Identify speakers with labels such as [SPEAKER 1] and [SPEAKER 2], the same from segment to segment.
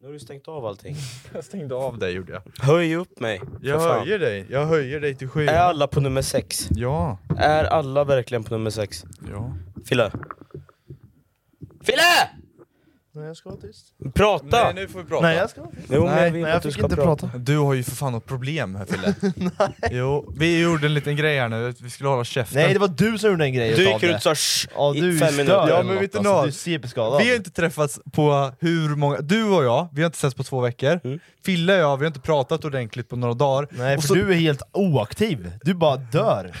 [SPEAKER 1] Nu har du stängt av allting.
[SPEAKER 2] Jag stängde av dig gjorde jag.
[SPEAKER 1] Höj upp mig.
[SPEAKER 2] Jag
[SPEAKER 1] för fan.
[SPEAKER 2] höjer dig, jag höjer dig till sju.
[SPEAKER 1] Är alla på nummer sex?
[SPEAKER 2] Ja,
[SPEAKER 1] Är alla verkligen på nummer sex?
[SPEAKER 2] ja.
[SPEAKER 1] Fille? Fille!
[SPEAKER 2] Nej jag ska vara tyst.
[SPEAKER 1] Prata!
[SPEAKER 2] Nej nu får vi prata. Nej jag, ska vara tyst.
[SPEAKER 1] Jo, men
[SPEAKER 2] nej,
[SPEAKER 1] jag vill
[SPEAKER 2] nej,
[SPEAKER 1] att
[SPEAKER 2] jag
[SPEAKER 1] du
[SPEAKER 2] fick
[SPEAKER 1] ska
[SPEAKER 2] inte
[SPEAKER 1] prata.
[SPEAKER 2] prata. Du har ju för fan något problem här Fille. nej. Jo, vi gjorde en liten grej här nu, vi skulle hålla käften.
[SPEAKER 3] Nej det var du som gjorde en grej
[SPEAKER 1] Du
[SPEAKER 3] utav
[SPEAKER 1] gick
[SPEAKER 3] det.
[SPEAKER 1] ut och sa "Shh"
[SPEAKER 3] Ja, du
[SPEAKER 1] i
[SPEAKER 3] är
[SPEAKER 1] fem
[SPEAKER 3] störd
[SPEAKER 1] minuter.
[SPEAKER 3] eller
[SPEAKER 2] Ja, men
[SPEAKER 3] något,
[SPEAKER 2] vet du
[SPEAKER 3] alltså.
[SPEAKER 2] något?
[SPEAKER 3] Du är CP-skadad.
[SPEAKER 2] Vi har inte träffats på hur många... Du och jag, vi har inte setts på två veckor.
[SPEAKER 1] Mm.
[SPEAKER 2] Fille och jag, vi har inte pratat ordentligt på några dagar.
[SPEAKER 3] Nej,
[SPEAKER 2] och
[SPEAKER 3] för
[SPEAKER 2] så,
[SPEAKER 3] du är helt oaktiv. Du bara dör.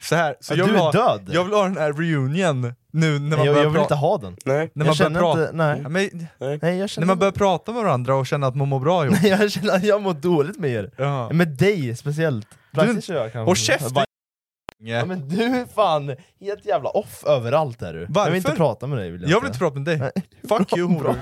[SPEAKER 2] så här, så
[SPEAKER 3] Ja,
[SPEAKER 2] jag
[SPEAKER 3] du
[SPEAKER 2] vill
[SPEAKER 3] är
[SPEAKER 2] ha,
[SPEAKER 3] död.
[SPEAKER 2] Jag vill ha den här reunion nu när man
[SPEAKER 3] Jag,
[SPEAKER 2] börjar
[SPEAKER 3] jag vill
[SPEAKER 2] pra-
[SPEAKER 3] inte ha den.
[SPEAKER 1] Nej.
[SPEAKER 2] När
[SPEAKER 3] jag
[SPEAKER 2] man börjar
[SPEAKER 3] känner
[SPEAKER 2] prata...
[SPEAKER 3] inte- nej.
[SPEAKER 2] Ja, men,
[SPEAKER 3] Nej, jag känner...
[SPEAKER 2] när man börjar prata med varandra och känna att man mår bra ihop.
[SPEAKER 3] jag känner att jag mår dåligt med er.
[SPEAKER 2] Ja.
[SPEAKER 3] Med dig speciellt. Praktiskt gör jag kanske.
[SPEAKER 2] Och käft
[SPEAKER 3] Bara-
[SPEAKER 2] du
[SPEAKER 3] Ja, men du är fan helt jävla off överallt är du. Jag
[SPEAKER 2] Varför?
[SPEAKER 3] vill inte prata med dig vill jag,
[SPEAKER 2] Jag vill inte prata med dig. Fuck you
[SPEAKER 3] Bra.
[SPEAKER 2] horor.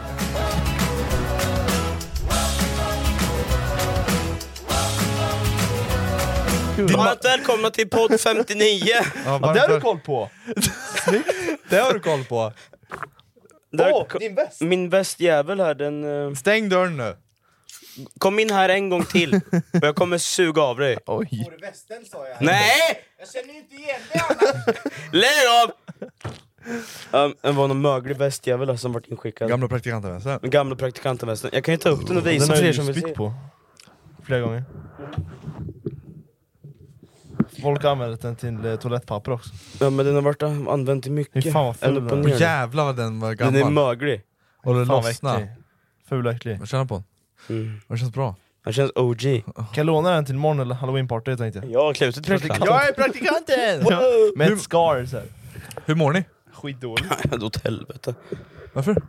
[SPEAKER 1] Varmt välkomna till podd 59!
[SPEAKER 2] Ja,
[SPEAKER 3] Ja, det har du
[SPEAKER 2] varför-
[SPEAKER 3] koll på!
[SPEAKER 2] det har du koll på.
[SPEAKER 1] Där
[SPEAKER 3] Åh,
[SPEAKER 1] ko-
[SPEAKER 3] din väst!
[SPEAKER 1] Min västjävel här, den... eh,
[SPEAKER 2] Stäng dörren nu.
[SPEAKER 1] Kom in här en gång till, och jag kommer suga av dig.
[SPEAKER 3] Oj.
[SPEAKER 1] Nej! Jag känner inte igen dig Lägg av! Um, det var någon möglig västjävel här som vart inskickad. Gamla,
[SPEAKER 2] Gamla praktikanten.
[SPEAKER 1] Gamla praktikantenvästen. Jag kan ju ta upp den och
[SPEAKER 3] Den
[SPEAKER 1] visa
[SPEAKER 3] har
[SPEAKER 1] för er
[SPEAKER 3] jag
[SPEAKER 1] som
[SPEAKER 3] ju
[SPEAKER 1] vill se.
[SPEAKER 3] spytt på. Flera gånger. Folk har använt den till eh, toalettpapper också.
[SPEAKER 1] Ja, men den har varit använd till mycket.
[SPEAKER 3] Fy fan, vad ful
[SPEAKER 1] Ända upp och
[SPEAKER 3] den är.
[SPEAKER 2] Och
[SPEAKER 1] ner.
[SPEAKER 2] jävlar vad den var
[SPEAKER 1] Den är
[SPEAKER 2] gammal.
[SPEAKER 1] möglig.
[SPEAKER 2] Och det
[SPEAKER 3] Fan vad
[SPEAKER 2] lossnade.
[SPEAKER 3] äcklig. Ful och äcklig.
[SPEAKER 2] Jag känner på den.
[SPEAKER 1] Mm.
[SPEAKER 2] Och Det känns bra.
[SPEAKER 1] Han känns OG.
[SPEAKER 3] Kan jag låna den till imorgon eller halloweenparty tänkte jag.
[SPEAKER 1] Jag har klätt ut praktikant.
[SPEAKER 3] är praktikanten! Med
[SPEAKER 2] Hur-
[SPEAKER 3] ett scar såhär.
[SPEAKER 2] Hur mår ni?
[SPEAKER 3] Skitdåligt.
[SPEAKER 1] Då åt helvete.
[SPEAKER 2] Varför?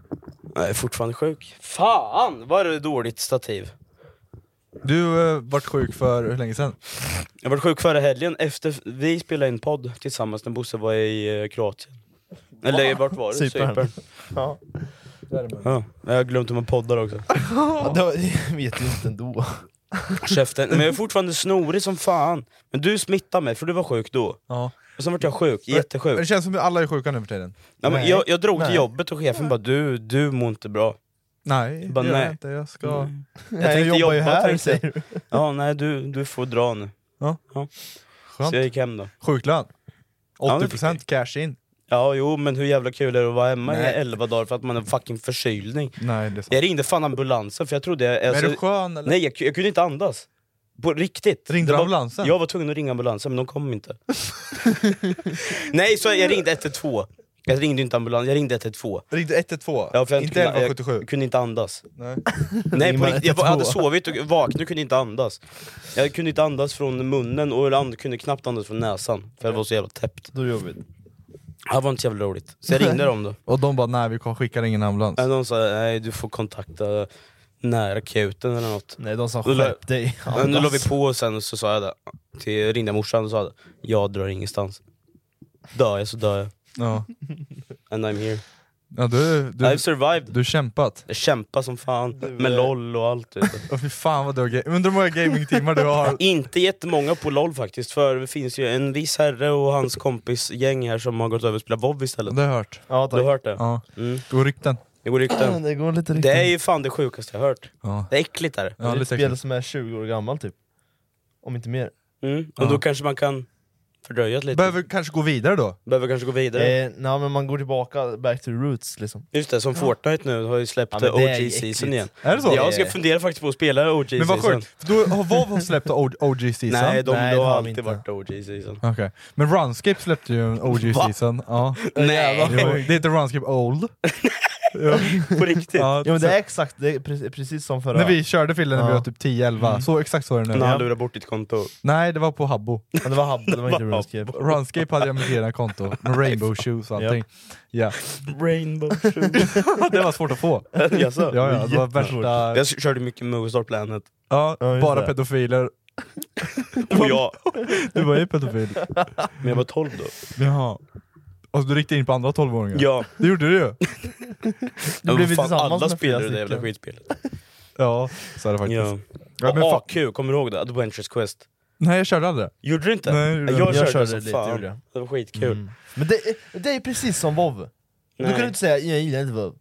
[SPEAKER 1] Jag är fortfarande sjuk. Fan vad är det dåligt stativ.
[SPEAKER 2] Du eh, vart sjuk för hur länge sedan?
[SPEAKER 1] Jag var sjuk förra helgen efter vi spelade in podd tillsammans när Bosse var i eh, Kroatien. Eller vart var det?
[SPEAKER 3] Cypern.
[SPEAKER 1] Cypern.
[SPEAKER 3] Ja.
[SPEAKER 1] Ja, jag har glömt hur man poddar också.
[SPEAKER 3] Då, jag vet ju inte ändå.
[SPEAKER 1] Käften. Men jag är fortfarande snorig som fan. Men du smittade mig för du var sjuk då.
[SPEAKER 2] Ja.
[SPEAKER 1] Och sen vart jag sjuk,
[SPEAKER 2] Det
[SPEAKER 1] jättesjuk.
[SPEAKER 2] känns som att alla är sjuka nu för tiden.
[SPEAKER 1] Ja, men
[SPEAKER 3] Nej.
[SPEAKER 1] jag, jag drog till
[SPEAKER 3] Nej.
[SPEAKER 1] jobbet och chefen bara du, du mår inte bra.
[SPEAKER 2] Nej,
[SPEAKER 1] Bara
[SPEAKER 2] det gör
[SPEAKER 1] nej. Mm.
[SPEAKER 2] jag inte. Jag ska...
[SPEAKER 3] Jag,
[SPEAKER 1] tänkte
[SPEAKER 3] jobbar ju
[SPEAKER 1] jobba,
[SPEAKER 3] här
[SPEAKER 1] tänkte jag.
[SPEAKER 3] säger du.
[SPEAKER 1] Ja nej du, du får dra nu.
[SPEAKER 2] Ja. Skönt.
[SPEAKER 1] Så jag gick hem då.
[SPEAKER 2] Sjuklön.
[SPEAKER 1] Ja, det
[SPEAKER 2] 80% cash in.
[SPEAKER 1] Ja jo men hur jävla kul är det att vara hemma i 11 dagar för att man har fucking förkylning.
[SPEAKER 2] Nej, det är sant.
[SPEAKER 1] Jag ringde fan ambulansen för jag trodde jag...
[SPEAKER 2] Men är
[SPEAKER 1] alltså-
[SPEAKER 2] du skön eller?
[SPEAKER 1] Nej jag, jag kunde inte andas. På riktigt.
[SPEAKER 2] Ringde
[SPEAKER 1] Det var-
[SPEAKER 2] ambulansen?
[SPEAKER 1] Jag var tvungen att ringa ambulansen men de kom inte. nej så jag ringde 112. Jag ringde inte ambulansen, jag ringde 112.
[SPEAKER 2] Ringde 112?
[SPEAKER 1] Ja, för jag
[SPEAKER 2] inte
[SPEAKER 1] kunde- jag-
[SPEAKER 2] 1177?
[SPEAKER 1] Jag kunde inte andas.
[SPEAKER 2] Nej.
[SPEAKER 1] Nej, på
[SPEAKER 3] man
[SPEAKER 1] riktigt, jag
[SPEAKER 3] 112.
[SPEAKER 1] var- hade sovit och vaknade och kunde inte andas. Jag kunde inte andas från munnen och jag and- kunde knappt andas från näsan. För jag var så jävla täppt.
[SPEAKER 3] Då är det jobbigt.
[SPEAKER 1] Det var inte så jävla roligt. Så jag ringde dem då.
[SPEAKER 2] Och de bara nej vi skickar ingen ambulans.
[SPEAKER 1] Men de sa nej du får kontakta nära akuten eller något.
[SPEAKER 3] Nej, de som
[SPEAKER 1] Nu la-
[SPEAKER 3] skärp dig.
[SPEAKER 1] Men nu la vi på och sen så sa jag det, till, ringde jag morsan och sa det, jag drar ingenstans. Dör jag så dör jag.
[SPEAKER 2] Ja.
[SPEAKER 1] And I'm here.
[SPEAKER 2] Ja, du, du,
[SPEAKER 1] I've survived.
[SPEAKER 2] du har kämpat.
[SPEAKER 1] Jag kämpar som fan, med LOL och allt. Vet du.
[SPEAKER 2] Åh fy fan vad du har ga- Undrar hur många gamingtimmar du har.
[SPEAKER 1] Inte jättemånga på LOL faktiskt, för det finns ju en viss herre och hans kompis gäng här som har gått över och spelat WoW
[SPEAKER 2] Det
[SPEAKER 1] istället.
[SPEAKER 2] har jag hört.
[SPEAKER 3] Ja,
[SPEAKER 1] Du har
[SPEAKER 3] tack.
[SPEAKER 1] hört det?
[SPEAKER 2] Ja.
[SPEAKER 1] Mm.
[SPEAKER 2] Du har rykten.
[SPEAKER 1] Det går rykten.
[SPEAKER 3] Det går lite riktigt.
[SPEAKER 1] Det är ju fan det sjukaste jag har hört.
[SPEAKER 2] Ja.
[SPEAKER 1] Det är äckligt är det.
[SPEAKER 3] det
[SPEAKER 2] Ja,
[SPEAKER 3] är ett
[SPEAKER 2] lite
[SPEAKER 3] spel
[SPEAKER 2] äckligt.
[SPEAKER 3] som är 20 år gammalt typ. Om inte mer.
[SPEAKER 1] Mm. Och då kanske man kan fördröja det lite. Behöver,
[SPEAKER 2] Behöver kanske gå vidare då?
[SPEAKER 1] kanske gå vidare.
[SPEAKER 3] Eh, nej men man går tillbaka, back to roots liksom.
[SPEAKER 1] Just det, som Fortnite nu har ju släppt
[SPEAKER 3] Ja,
[SPEAKER 1] ja,
[SPEAKER 3] men det är ju äckligt.
[SPEAKER 1] OG-season igen.
[SPEAKER 2] Är det så?
[SPEAKER 1] Jag ska fundera faktiskt på att spela OG-season.
[SPEAKER 2] Men vad sjukt, för då har WoW släppt OG-season?
[SPEAKER 1] Nej, de,
[SPEAKER 3] Nej, det har
[SPEAKER 1] de har
[SPEAKER 3] de
[SPEAKER 1] alltid
[SPEAKER 3] inte.
[SPEAKER 1] varit OG-season.
[SPEAKER 2] Okej, men Runscape släppte ju en OG-season. Ja.
[SPEAKER 1] Nej,
[SPEAKER 2] Jo, Det heter Runscape Old. ja.
[SPEAKER 1] på riktigt.
[SPEAKER 2] Ja,
[SPEAKER 3] Ja men det är exakt, det är pre- precis som förra.
[SPEAKER 2] När vi körde Fille när vi
[SPEAKER 3] Ja. Mm.
[SPEAKER 2] var typ 10-11, så exakt så är det nu.
[SPEAKER 1] När han lurar bort ditt konto.
[SPEAKER 2] Nej, det var på Habbo.
[SPEAKER 3] Ja, det var Hub, det var inte RuneScape.
[SPEAKER 2] Runscape hade jag mitt egna konto, med rainbow shoes och allting. Ja.
[SPEAKER 1] Rainbow
[SPEAKER 2] Det var svårt att få.
[SPEAKER 1] Jaså?
[SPEAKER 2] Ja, ja, det var värsta...
[SPEAKER 1] Jag körde mycket Movistar Planet.
[SPEAKER 2] Ja,
[SPEAKER 3] Ja, just
[SPEAKER 2] bara
[SPEAKER 3] det.
[SPEAKER 2] pedofiler.
[SPEAKER 1] Och jag,
[SPEAKER 2] Du var ju pedofil.
[SPEAKER 1] men jag var 12 då.
[SPEAKER 2] Jaha. Alltså du riktade in på andra 12-åringar?
[SPEAKER 1] Ja,
[SPEAKER 2] Det gjorde du ju!
[SPEAKER 1] men
[SPEAKER 3] blev
[SPEAKER 1] vad fan,
[SPEAKER 3] tillsammans
[SPEAKER 1] alla
[SPEAKER 3] med
[SPEAKER 1] spelade
[SPEAKER 3] flera
[SPEAKER 1] det jävla
[SPEAKER 3] stycken.
[SPEAKER 1] skitspelet.
[SPEAKER 2] Ja, så är det faktiskt.
[SPEAKER 1] Ja.
[SPEAKER 2] Ja, men
[SPEAKER 1] Och
[SPEAKER 2] fan-
[SPEAKER 1] AQ, Alltså, kommer du ihåg det? Adventures Quest.
[SPEAKER 2] Nej, jag körde aldrig.
[SPEAKER 1] Gjorde du inte?
[SPEAKER 2] Nej, det gjorde jag
[SPEAKER 1] jag,
[SPEAKER 3] inte. Jag
[SPEAKER 1] körde
[SPEAKER 3] körde
[SPEAKER 1] som
[SPEAKER 3] lite,
[SPEAKER 1] fan.
[SPEAKER 3] gjorde jag.
[SPEAKER 1] Det var skitkul.
[SPEAKER 2] Mm.
[SPEAKER 3] Men det, är- det är precis som WoW. Du kan
[SPEAKER 1] Nej.
[SPEAKER 3] du inte säga 'jag gillar inte WoW'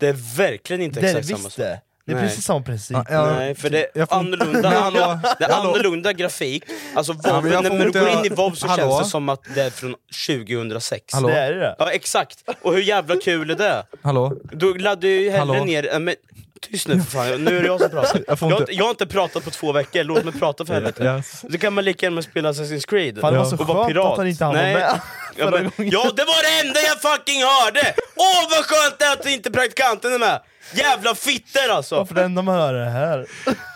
[SPEAKER 1] Det är verkligen inte
[SPEAKER 3] Det är det
[SPEAKER 1] exakt samma
[SPEAKER 3] visst
[SPEAKER 1] sak.
[SPEAKER 3] det! Det är
[SPEAKER 1] Nej.
[SPEAKER 3] precis samma princip.
[SPEAKER 2] Ja,
[SPEAKER 1] Nej, för det är
[SPEAKER 2] jag får-
[SPEAKER 1] annorlunda,
[SPEAKER 2] Men hallå,
[SPEAKER 1] annorlunda, det är
[SPEAKER 2] hallå.
[SPEAKER 1] annorlunda grafik. Alltså,
[SPEAKER 2] Ja,
[SPEAKER 1] WoW,
[SPEAKER 2] men jag får
[SPEAKER 1] när du
[SPEAKER 2] inte
[SPEAKER 1] går
[SPEAKER 2] göra-
[SPEAKER 1] in i WoW så
[SPEAKER 2] Hallå?
[SPEAKER 1] känns det som att det är från 2006.
[SPEAKER 2] Hallå?
[SPEAKER 3] Det är det.
[SPEAKER 1] Ja, exakt. Och hur jävla kul är det?
[SPEAKER 2] Hallå?
[SPEAKER 1] Du laddar ju hellre
[SPEAKER 2] Hallå?
[SPEAKER 1] ner... äh, Men, tyst nu för fan, nu är det jag som pratar.
[SPEAKER 2] Jag får
[SPEAKER 1] jag, har
[SPEAKER 2] inte-
[SPEAKER 1] inte- jag har inte pratat på två veckor, låt mig prata för helvete.
[SPEAKER 2] Yes.
[SPEAKER 1] Så kan man lika gärna spela Assassin's Creed
[SPEAKER 3] Fan, det var så
[SPEAKER 1] och vara
[SPEAKER 3] skönt
[SPEAKER 1] pirat.
[SPEAKER 3] att han inte hann vara med
[SPEAKER 1] ja, men, ja, det var det enda jag fucking hörde! Åh vad skönt det är att inte praktikanten är med! Jävla fitter alltså!
[SPEAKER 3] Varför det enda man hör är det här?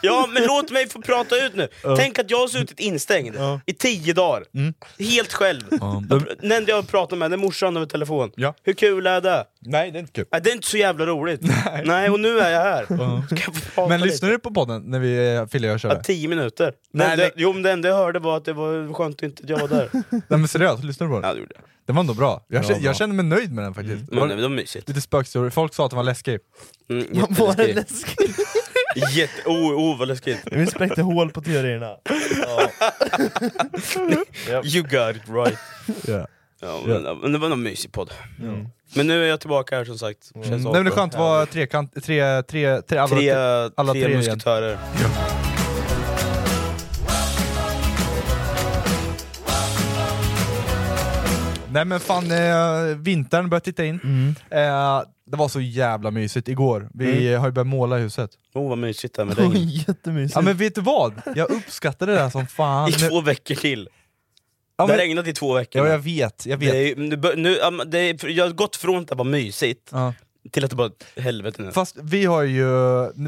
[SPEAKER 1] Ja, men låt mig få prata ut nu. Tänk att jag har suttit instängd i tio dagar,
[SPEAKER 3] Mm.
[SPEAKER 1] helt själv. Jag pr- Den enda jag pratar med det är morsan över telefon.
[SPEAKER 2] Ja.
[SPEAKER 1] Hur kul är det?
[SPEAKER 2] Nej, det är inte kul.
[SPEAKER 1] Nej, det är inte så jävla roligt. Nej, och nu är jag här. Ska jag få prata
[SPEAKER 2] Men
[SPEAKER 1] lite?
[SPEAKER 2] lyssnar du på podden när vi, eh, Fille och jag
[SPEAKER 1] Ja,
[SPEAKER 2] körde?
[SPEAKER 1] tio minuter.
[SPEAKER 2] Nej,
[SPEAKER 1] Nej, det,
[SPEAKER 2] men-
[SPEAKER 1] jo, men det enda jag hörde var att det var skönt att inte jag var där.
[SPEAKER 2] Nej men seriöst, lyssnar du på
[SPEAKER 1] ja,
[SPEAKER 2] den?
[SPEAKER 1] det gjorde jag.
[SPEAKER 2] Den var ändå bra. Jag,
[SPEAKER 3] var
[SPEAKER 2] kände,
[SPEAKER 3] bra.
[SPEAKER 2] jag kände mig nöjd med den faktiskt. Det
[SPEAKER 1] Mm. Men
[SPEAKER 2] var
[SPEAKER 1] det var mysigt.
[SPEAKER 2] Lite spökstory, folk sa att den var läskig.
[SPEAKER 1] Mm,
[SPEAKER 3] Man får en
[SPEAKER 1] jätteläskigt.
[SPEAKER 3] läskig...
[SPEAKER 1] Jätte... Oh, oh, vad läskigt.
[SPEAKER 3] Vi spräckte hål på teorierna. Ja.
[SPEAKER 1] You got it right.
[SPEAKER 2] Yeah.
[SPEAKER 1] Ja, men, men det var en mysig podd. Men nu är jag tillbaka här som sagt. Känns
[SPEAKER 2] Mm. Nej men det är
[SPEAKER 1] asbra.
[SPEAKER 2] skönt att vara trekant, tre, tre, tre, alla,
[SPEAKER 1] tre,
[SPEAKER 2] alla
[SPEAKER 1] tre,
[SPEAKER 2] tre igen.
[SPEAKER 1] musketörer.
[SPEAKER 2] Nej men fan, eh, vintern börjar titta in. Eh, det var så jävla mysigt igår, vi har ju börjat måla huset.
[SPEAKER 1] Åh oh, vad mysigt det här med
[SPEAKER 3] Det
[SPEAKER 1] regn.
[SPEAKER 3] var jättemysigt.
[SPEAKER 2] Ja men vet du vad? Jag uppskattade det där som fan.
[SPEAKER 1] I två veckor till.
[SPEAKER 2] ja,
[SPEAKER 1] det har
[SPEAKER 2] men,
[SPEAKER 1] regnat i två veckor.
[SPEAKER 2] ja jag vet, jag
[SPEAKER 1] det
[SPEAKER 2] vet.
[SPEAKER 1] är, ju- nu, bör- nu, ja, men det är, jag har gått från att det var mysigt
[SPEAKER 2] Ja.
[SPEAKER 1] till att det bara helvete nu.
[SPEAKER 2] Fast vi har ju,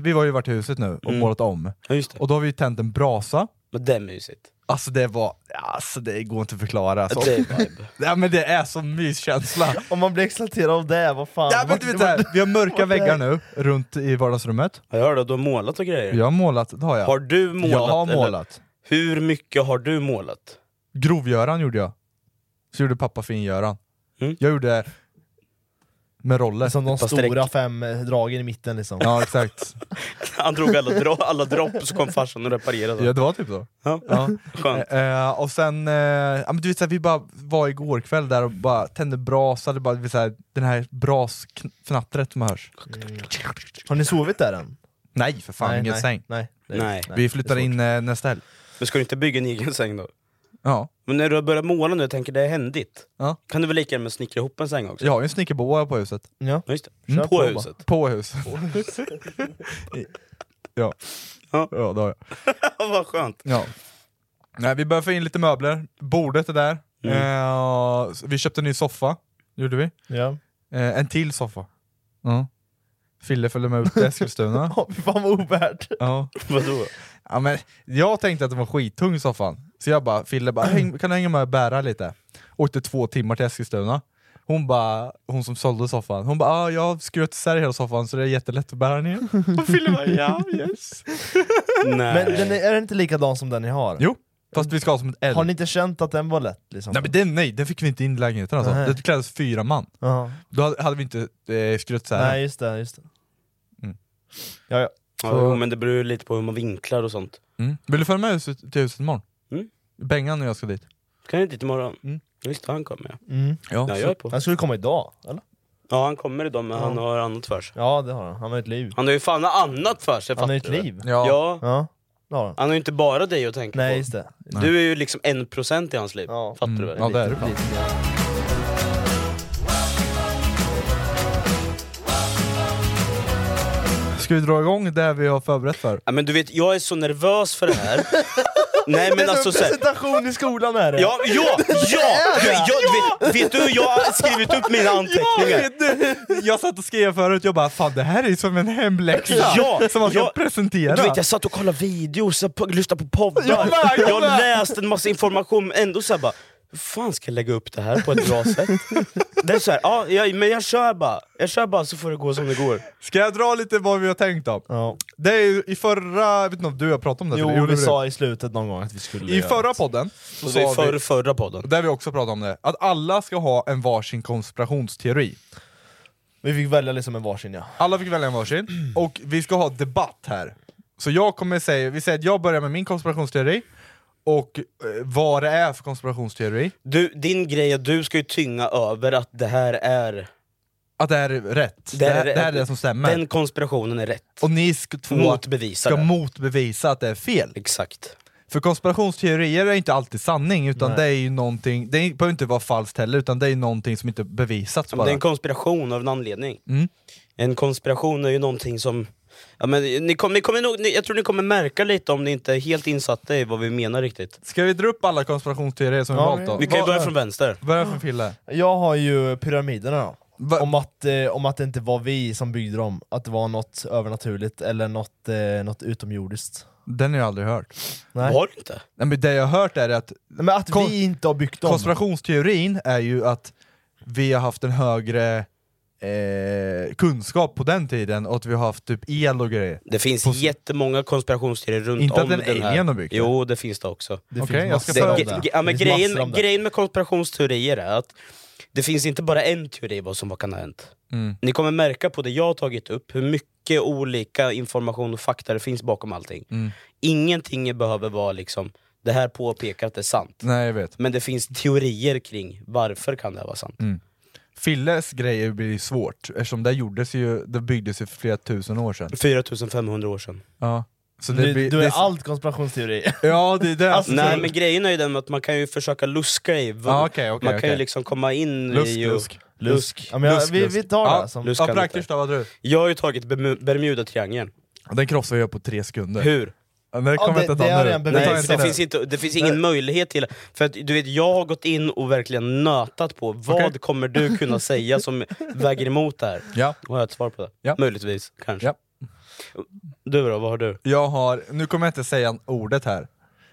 [SPEAKER 2] vi har ju varit i huset nu
[SPEAKER 1] Mm.
[SPEAKER 2] och målat om,
[SPEAKER 1] Ja, just det.
[SPEAKER 2] och då har vi ju tänt en brasa,
[SPEAKER 1] Men det är mysigt.
[SPEAKER 2] alltså det var, alltså det går inte att förklara. Alltså.
[SPEAKER 1] Det är vibe.
[SPEAKER 2] Ja, men det är som myskänsla.
[SPEAKER 3] Om man blir exalterad av det, vad fan.
[SPEAKER 2] Ja, men du vet det här, vi har mörka
[SPEAKER 3] Vad är det?
[SPEAKER 2] väggar nu runt i vardagsrummet.
[SPEAKER 1] Jag hörde att du har målat och grejer.
[SPEAKER 2] Jag har målat, det har jag.
[SPEAKER 1] Har du målat?
[SPEAKER 2] jag har
[SPEAKER 1] eller-
[SPEAKER 2] målat.
[SPEAKER 1] Hur mycket har du målat?
[SPEAKER 2] Grovgöran gjorde jag. Så gjorde pappa Fingöran.
[SPEAKER 1] Mm.
[SPEAKER 2] Jag gjorde med
[SPEAKER 3] Det
[SPEAKER 2] roller.
[SPEAKER 3] är Som de
[SPEAKER 1] Ett par streck.
[SPEAKER 3] stora fem eh, dragen i mitten liksom.
[SPEAKER 2] Ja exakt.
[SPEAKER 1] Han drog alla, dro alla dropp och så kom farsan och reparerade.
[SPEAKER 2] Ja, det var typ så.
[SPEAKER 1] Ja.
[SPEAKER 2] Ja.
[SPEAKER 1] Skönt.
[SPEAKER 2] Eh, och sen, eh, ja, men du vet såhär, vi bara var igår kväll där och bara tände brasa, det bara, du vet, såhär, den här brasfnattret som hörs.
[SPEAKER 3] Har ni sovit där än?
[SPEAKER 2] Nej för fan, ingen
[SPEAKER 3] nej,
[SPEAKER 2] säng.
[SPEAKER 3] Nej, det är-
[SPEAKER 1] Nej.
[SPEAKER 2] vi flyttar
[SPEAKER 3] det är svårt.
[SPEAKER 2] in eh, nästa helg.
[SPEAKER 1] Men ska du inte bygga en egen säng då?
[SPEAKER 2] Ja.
[SPEAKER 1] Men när du har börjat måla nu, jag tänker det är händigt.
[SPEAKER 2] Ja.
[SPEAKER 1] Kan du väl lika gärna snickra ihop en säng också?
[SPEAKER 2] Jag har ju en snickerboa på huset.
[SPEAKER 3] Ja.
[SPEAKER 1] Ja, just det.
[SPEAKER 3] Mm.
[SPEAKER 1] På,
[SPEAKER 3] Kör på
[SPEAKER 1] huset.
[SPEAKER 2] På hus. ja. ja,
[SPEAKER 1] Ja.
[SPEAKER 2] det har jag.
[SPEAKER 1] Ja, vad skönt.
[SPEAKER 2] Ja. Nej, vi börjar få in lite möbler, bordet är där,
[SPEAKER 3] Mm.
[SPEAKER 2] eh, så vi köpte en ny soffa, gjorde vi.
[SPEAKER 3] Ja.
[SPEAKER 2] Eh, en till soffa. Ja. Fille följde med ut till Eskilstuna.
[SPEAKER 3] Oh, fy fan vad ovärt.
[SPEAKER 2] ja.
[SPEAKER 1] Vadå?
[SPEAKER 2] Ja, men jag tänkte att den var skittung soffan, så jag bara, Fille bara, "Häng, kan du hänga med och bära lite? Åkte två timmar till Eskilstuna. Hon bara, hon som sålde soffan, hon bara ah, jag har skruvat isär hela soffan så det är jättelätt att bära ner. Och Philip bara ja, yes.
[SPEAKER 1] Nej.
[SPEAKER 3] Men den är, är den inte likadan som den ni har?
[SPEAKER 2] Jo, fast vi ska ha som ett L.
[SPEAKER 3] Har ni inte känt att den var lätt liksom?
[SPEAKER 2] Nej, men den, nej, den fick vi inte in i lägenheten alltså.
[SPEAKER 3] Nej.
[SPEAKER 2] Det krävdes fyra man.
[SPEAKER 3] Jaha.
[SPEAKER 2] Då hade- hade vi inte eh, skruvat isär
[SPEAKER 3] Nej just det, just det.
[SPEAKER 2] Mm.
[SPEAKER 3] Ja, ja.
[SPEAKER 1] Ja, jo, men det beror ju lite på hur man vinklar och sånt.
[SPEAKER 2] Mm. Vill du följa med huset, till huset imorgon?
[SPEAKER 1] Mm.
[SPEAKER 2] Bengan och jag ska dit.
[SPEAKER 1] Kan jag inte dit imorgon?
[SPEAKER 2] Mm.
[SPEAKER 1] Just det, han kommer ja.
[SPEAKER 3] Mm.
[SPEAKER 2] Ja,
[SPEAKER 1] Nej, jag är på.
[SPEAKER 3] Han skulle komma idag, eller?
[SPEAKER 1] Ja, han kommer idag men han
[SPEAKER 3] Ja.
[SPEAKER 1] har annat för sig.
[SPEAKER 3] Ja det har han, han har ett liv.
[SPEAKER 1] Han har ju fan annat för sig,
[SPEAKER 3] Han har
[SPEAKER 1] fattar
[SPEAKER 3] ett
[SPEAKER 1] du?
[SPEAKER 3] liv.
[SPEAKER 2] ja.
[SPEAKER 1] Ja.
[SPEAKER 3] Ja, det har han.
[SPEAKER 1] Han har ju inte bara dig att tänka
[SPEAKER 3] Nej
[SPEAKER 1] på.
[SPEAKER 3] just det.
[SPEAKER 1] Du är ju liksom en procent i hans liv.
[SPEAKER 3] Ja.
[SPEAKER 1] Fattar du
[SPEAKER 2] Mm.
[SPEAKER 1] väl?
[SPEAKER 2] Ja, det är det.
[SPEAKER 3] Lite, lite.
[SPEAKER 2] Ska vi dra igång det vi har förberett för?
[SPEAKER 1] Ja, men du vet, jag är så nervös för det här. Nej men alltså så här,
[SPEAKER 3] presentation i skolan är det!
[SPEAKER 1] Ja, ja, ja! Du, jag, du vet, vet du hur jag har skrivit upp mina anteckningar?
[SPEAKER 2] Jag satt och skrev förut, jag bara fan det här är som en hemläxa
[SPEAKER 1] Ja,
[SPEAKER 2] som man ska
[SPEAKER 1] ja.
[SPEAKER 2] presentera.
[SPEAKER 1] Du vet, jag satt och kollade videos, jag på- lyssnade på poddar,
[SPEAKER 2] Jag med, jag med.
[SPEAKER 1] läste en massa information, men ändå såhär bara hur fan ska jag lägga upp det här på ett bra sätt? Det är så här, ja, jag, men jag kör bara, jag kör bara så får det gå som det går.
[SPEAKER 2] Ska jag dra lite vad vi har tänkt om?
[SPEAKER 3] Ja.
[SPEAKER 2] Det är ju i förra, vet inte om du har pratat om det? eller?
[SPEAKER 3] Jo,
[SPEAKER 2] det
[SPEAKER 3] vi
[SPEAKER 2] är
[SPEAKER 3] sa i slutet någon gång att vi skulle
[SPEAKER 2] I
[SPEAKER 3] göra
[SPEAKER 2] förra
[SPEAKER 3] det.
[SPEAKER 2] podden, så
[SPEAKER 1] Så det är
[SPEAKER 2] sa
[SPEAKER 1] för,
[SPEAKER 2] vi,
[SPEAKER 1] förra podden.
[SPEAKER 2] där vi också pratade om det, att alla ska ha en varsin konspirationsteori.
[SPEAKER 3] Vi fick välja liksom en varsin ja.
[SPEAKER 2] Alla fick välja en varsin, och vi ska ha debatt här. Så jag kommer säga, vi säger att jag börjar med min konspirationsteori, och eh, vad det är för konspirationsteori,
[SPEAKER 1] Du, din grej är att du ska ju tynga över att det här är,
[SPEAKER 2] att det här är rätt. Det, här- det här är det som stämmer.
[SPEAKER 1] den konspirationen är rätt.
[SPEAKER 2] och ni sk- två
[SPEAKER 1] Motbevisa
[SPEAKER 2] ska
[SPEAKER 1] det.
[SPEAKER 2] motbevisa att det är fel.
[SPEAKER 1] Exakt.
[SPEAKER 2] För konspirationsteorier är inte alltid sanning, utan
[SPEAKER 3] Nej.
[SPEAKER 2] det är ju någonting, det är- behöver inte vara falskt heller, utan det är ju någonting som inte
[SPEAKER 3] Typ
[SPEAKER 2] bevisats
[SPEAKER 1] Ja, men
[SPEAKER 2] bara.
[SPEAKER 1] Det är en konspiration av en anledning.
[SPEAKER 2] Mm.
[SPEAKER 1] En konspiration är ju någonting som... Ja, men ni kom, ni kommer nog, ni, jag tror ni kommer märka lite om ni inte är helt insatta i vad vi menar riktigt.
[SPEAKER 2] Ska vi dra upp alla konspirationsteorier som
[SPEAKER 3] Ja,
[SPEAKER 2] vi valt
[SPEAKER 3] vi-
[SPEAKER 2] då?
[SPEAKER 1] Vi kan ju
[SPEAKER 3] Vad-
[SPEAKER 1] börja från vänster.
[SPEAKER 2] Börja från Fille.
[SPEAKER 3] Jag har ju pyramiderna då.
[SPEAKER 2] Va-
[SPEAKER 3] Om att, eh, om att det inte var vi som byggde dem, att det var något övernaturligt eller något, eh, något utomjordiskt.
[SPEAKER 2] Den har jag aldrig hört.
[SPEAKER 3] Nej.
[SPEAKER 1] Var det inte?
[SPEAKER 2] Nej, men det jag har hört är att
[SPEAKER 3] Nej, Men att
[SPEAKER 2] Kon-
[SPEAKER 3] vi inte har byggt dem.
[SPEAKER 2] konspirationsteorin är ju att vi har haft en högre eh, kunskap på den tiden och att vi har haft typ el och grejer.
[SPEAKER 1] Det finns
[SPEAKER 2] På-
[SPEAKER 1] jättemånga konspirationsteorier runt
[SPEAKER 2] Inte att
[SPEAKER 1] om
[SPEAKER 2] en
[SPEAKER 1] den
[SPEAKER 2] alien
[SPEAKER 1] här.
[SPEAKER 2] har byggt det.
[SPEAKER 1] Jo, det finns det också.
[SPEAKER 3] Det
[SPEAKER 2] Okej, jag ska
[SPEAKER 3] massor
[SPEAKER 2] ta-
[SPEAKER 3] om
[SPEAKER 1] Det,
[SPEAKER 2] om det.
[SPEAKER 1] ge- ja, men
[SPEAKER 3] Det finns massor
[SPEAKER 1] grejen,
[SPEAKER 3] om det.
[SPEAKER 1] grejen med konspirationsteorier är att det finns inte bara en teori vad som kan ha hänt.
[SPEAKER 2] Mm.
[SPEAKER 1] Ni kommer märka på det jag har tagit upp, hur mycket olika information och fakta det finns bakom allting.
[SPEAKER 2] Mm.
[SPEAKER 1] Ingenting behöver vara liksom, det här påpekar att det är sant.
[SPEAKER 2] Nej jag vet.
[SPEAKER 1] Men det finns teorier kring varför kan det här vara sant.
[SPEAKER 2] Mm. Filles grejer blir ju svårt eftersom det gjordes ju, det byggdes ju för flera tusen år sedan.
[SPEAKER 1] 4500 år sedan.
[SPEAKER 2] Ja. Så det
[SPEAKER 3] Du,
[SPEAKER 2] blir,
[SPEAKER 3] du
[SPEAKER 2] det
[SPEAKER 3] är allt konspirationsteori.
[SPEAKER 2] Ja det är det.
[SPEAKER 3] Alltså,
[SPEAKER 1] Nej
[SPEAKER 3] så-
[SPEAKER 1] men grejen är ju den att man kan ju försöka luska i... v-
[SPEAKER 2] Ja, okej, okej,
[SPEAKER 1] man kan ju
[SPEAKER 2] okej.
[SPEAKER 1] liksom komma in
[SPEAKER 2] Lusk,
[SPEAKER 1] i... och-
[SPEAKER 2] lusk.
[SPEAKER 1] lusk.
[SPEAKER 3] Ja, men jag,
[SPEAKER 2] Lusk,
[SPEAKER 3] vi,
[SPEAKER 2] lusk.
[SPEAKER 3] vi tar
[SPEAKER 2] Ja.
[SPEAKER 3] det som...
[SPEAKER 1] Lusk.
[SPEAKER 2] ja,
[SPEAKER 1] kan
[SPEAKER 2] praktiskt
[SPEAKER 1] lite.
[SPEAKER 2] då, vad du?
[SPEAKER 1] Jag har ju tagit Bermu- Bermuda-triangeln.
[SPEAKER 2] Den krossar jag på tre sekunder.
[SPEAKER 1] Hur?
[SPEAKER 2] Men det kommer
[SPEAKER 3] det-
[SPEAKER 2] jag inte
[SPEAKER 3] det
[SPEAKER 2] ta
[SPEAKER 3] är
[SPEAKER 2] nu.
[SPEAKER 3] en
[SPEAKER 2] Det
[SPEAKER 3] bevis.
[SPEAKER 2] tar jag
[SPEAKER 1] Nej,
[SPEAKER 3] tar
[SPEAKER 1] för
[SPEAKER 2] inte
[SPEAKER 1] det,
[SPEAKER 2] nu.
[SPEAKER 1] finns inte, det finns ingen möjlighet till... För att du vet, jag har gått in och verkligen nötat på vad
[SPEAKER 2] Okej.
[SPEAKER 1] kommer du kunna säga som väger emot det här?
[SPEAKER 2] Ja.
[SPEAKER 1] Har jag ett svar på det?
[SPEAKER 2] Ja.
[SPEAKER 1] Möjligtvis, kanske.
[SPEAKER 2] Ja.
[SPEAKER 1] Du då, vad har du?
[SPEAKER 2] Jag har, nu kommer jag inte säga ordet här,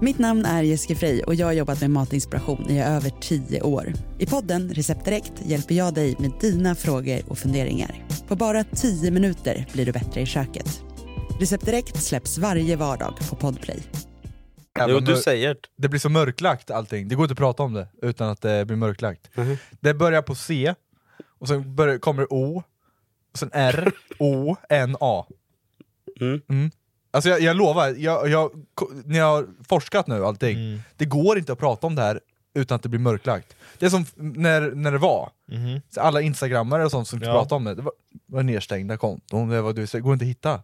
[SPEAKER 4] Mitt namn är Jessica Frey och jag har jobbat med matinspiration i över tio år. I podden Recept Direkt hjälper jag dig med dina frågor och funderingar. På bara tio minuter blir du bättre i köket. Recept Direkt släpps varje vardag på Podplay.
[SPEAKER 2] jävla
[SPEAKER 1] Jo, du
[SPEAKER 2] mör-
[SPEAKER 1] säger det.
[SPEAKER 2] Det blir så mörklagt allting, det går inte att prata om det utan att det blir mörklagt. Det börjar på C, och sen börjar, kommer O, och sen R, O, N, A.
[SPEAKER 1] Mm.
[SPEAKER 2] Alltså jag, jag lovar, jag, jag, när jag har forskat nu allting, det går inte att prata om det här utan att det blir mörklagt. Det är som f- när, när det var, så alla instagrammare och sånt som
[SPEAKER 3] Ja.
[SPEAKER 2] pratade om det, det var, var nedstängda konton, det, var, det går inte att hitta.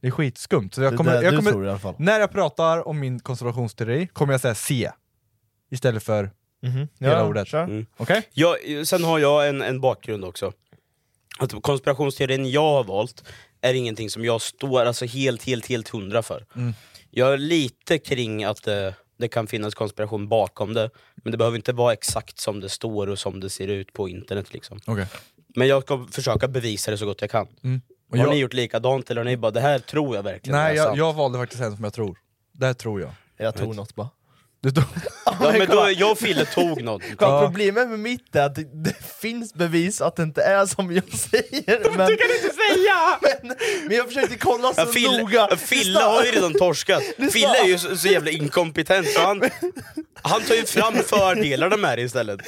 [SPEAKER 2] Det är skitskumt. Så jag
[SPEAKER 3] Det
[SPEAKER 2] kommer,
[SPEAKER 3] där
[SPEAKER 2] jag
[SPEAKER 3] du
[SPEAKER 2] kommer,
[SPEAKER 3] tror i alla fall.
[SPEAKER 2] När jag pratar om min konspirationsteori kommer jag säga C istället för
[SPEAKER 3] Mhm.
[SPEAKER 2] hela ordet.
[SPEAKER 1] Mm.
[SPEAKER 3] kör.
[SPEAKER 2] Okej?
[SPEAKER 1] Jag, sen har jag en, en bakgrund också. att konspirationsteorin jag har valt är ingenting som jag står alltså helt, helt, helt hundra för.
[SPEAKER 2] Mm.
[SPEAKER 1] Jag är lite kring att det, det kan finnas konspiration bakom det, men det behöver inte vara exakt som det står och som det ser ut på internet. Liksom.
[SPEAKER 2] Okej.
[SPEAKER 1] Men jag ska försöka bevisa det så gott jag kan.
[SPEAKER 2] Mm. Och
[SPEAKER 1] Har
[SPEAKER 2] jag-
[SPEAKER 1] ni gjort likadant eller har ni bara det här tror jag verkligen är
[SPEAKER 2] Nej, jag,
[SPEAKER 1] sant?
[SPEAKER 2] jag valde faktiskt en som jag tror. Det här tror jag.
[SPEAKER 3] Jag tror något bara.
[SPEAKER 2] Du tror...
[SPEAKER 1] Ja, men då, jag och Fille tog någon.
[SPEAKER 3] Kolla, Problemet med mitt är att det, det finns bevis att det inte är som jag säger. Men,
[SPEAKER 1] inte säga!
[SPEAKER 3] men, men jag försökte kolla så
[SPEAKER 1] Ja, Fille,
[SPEAKER 3] noga.
[SPEAKER 1] ja, Fille har ju redan torskat. Fille är ju så, så jävla inkompetent så han, han tar ju fram fördelarna med det istället.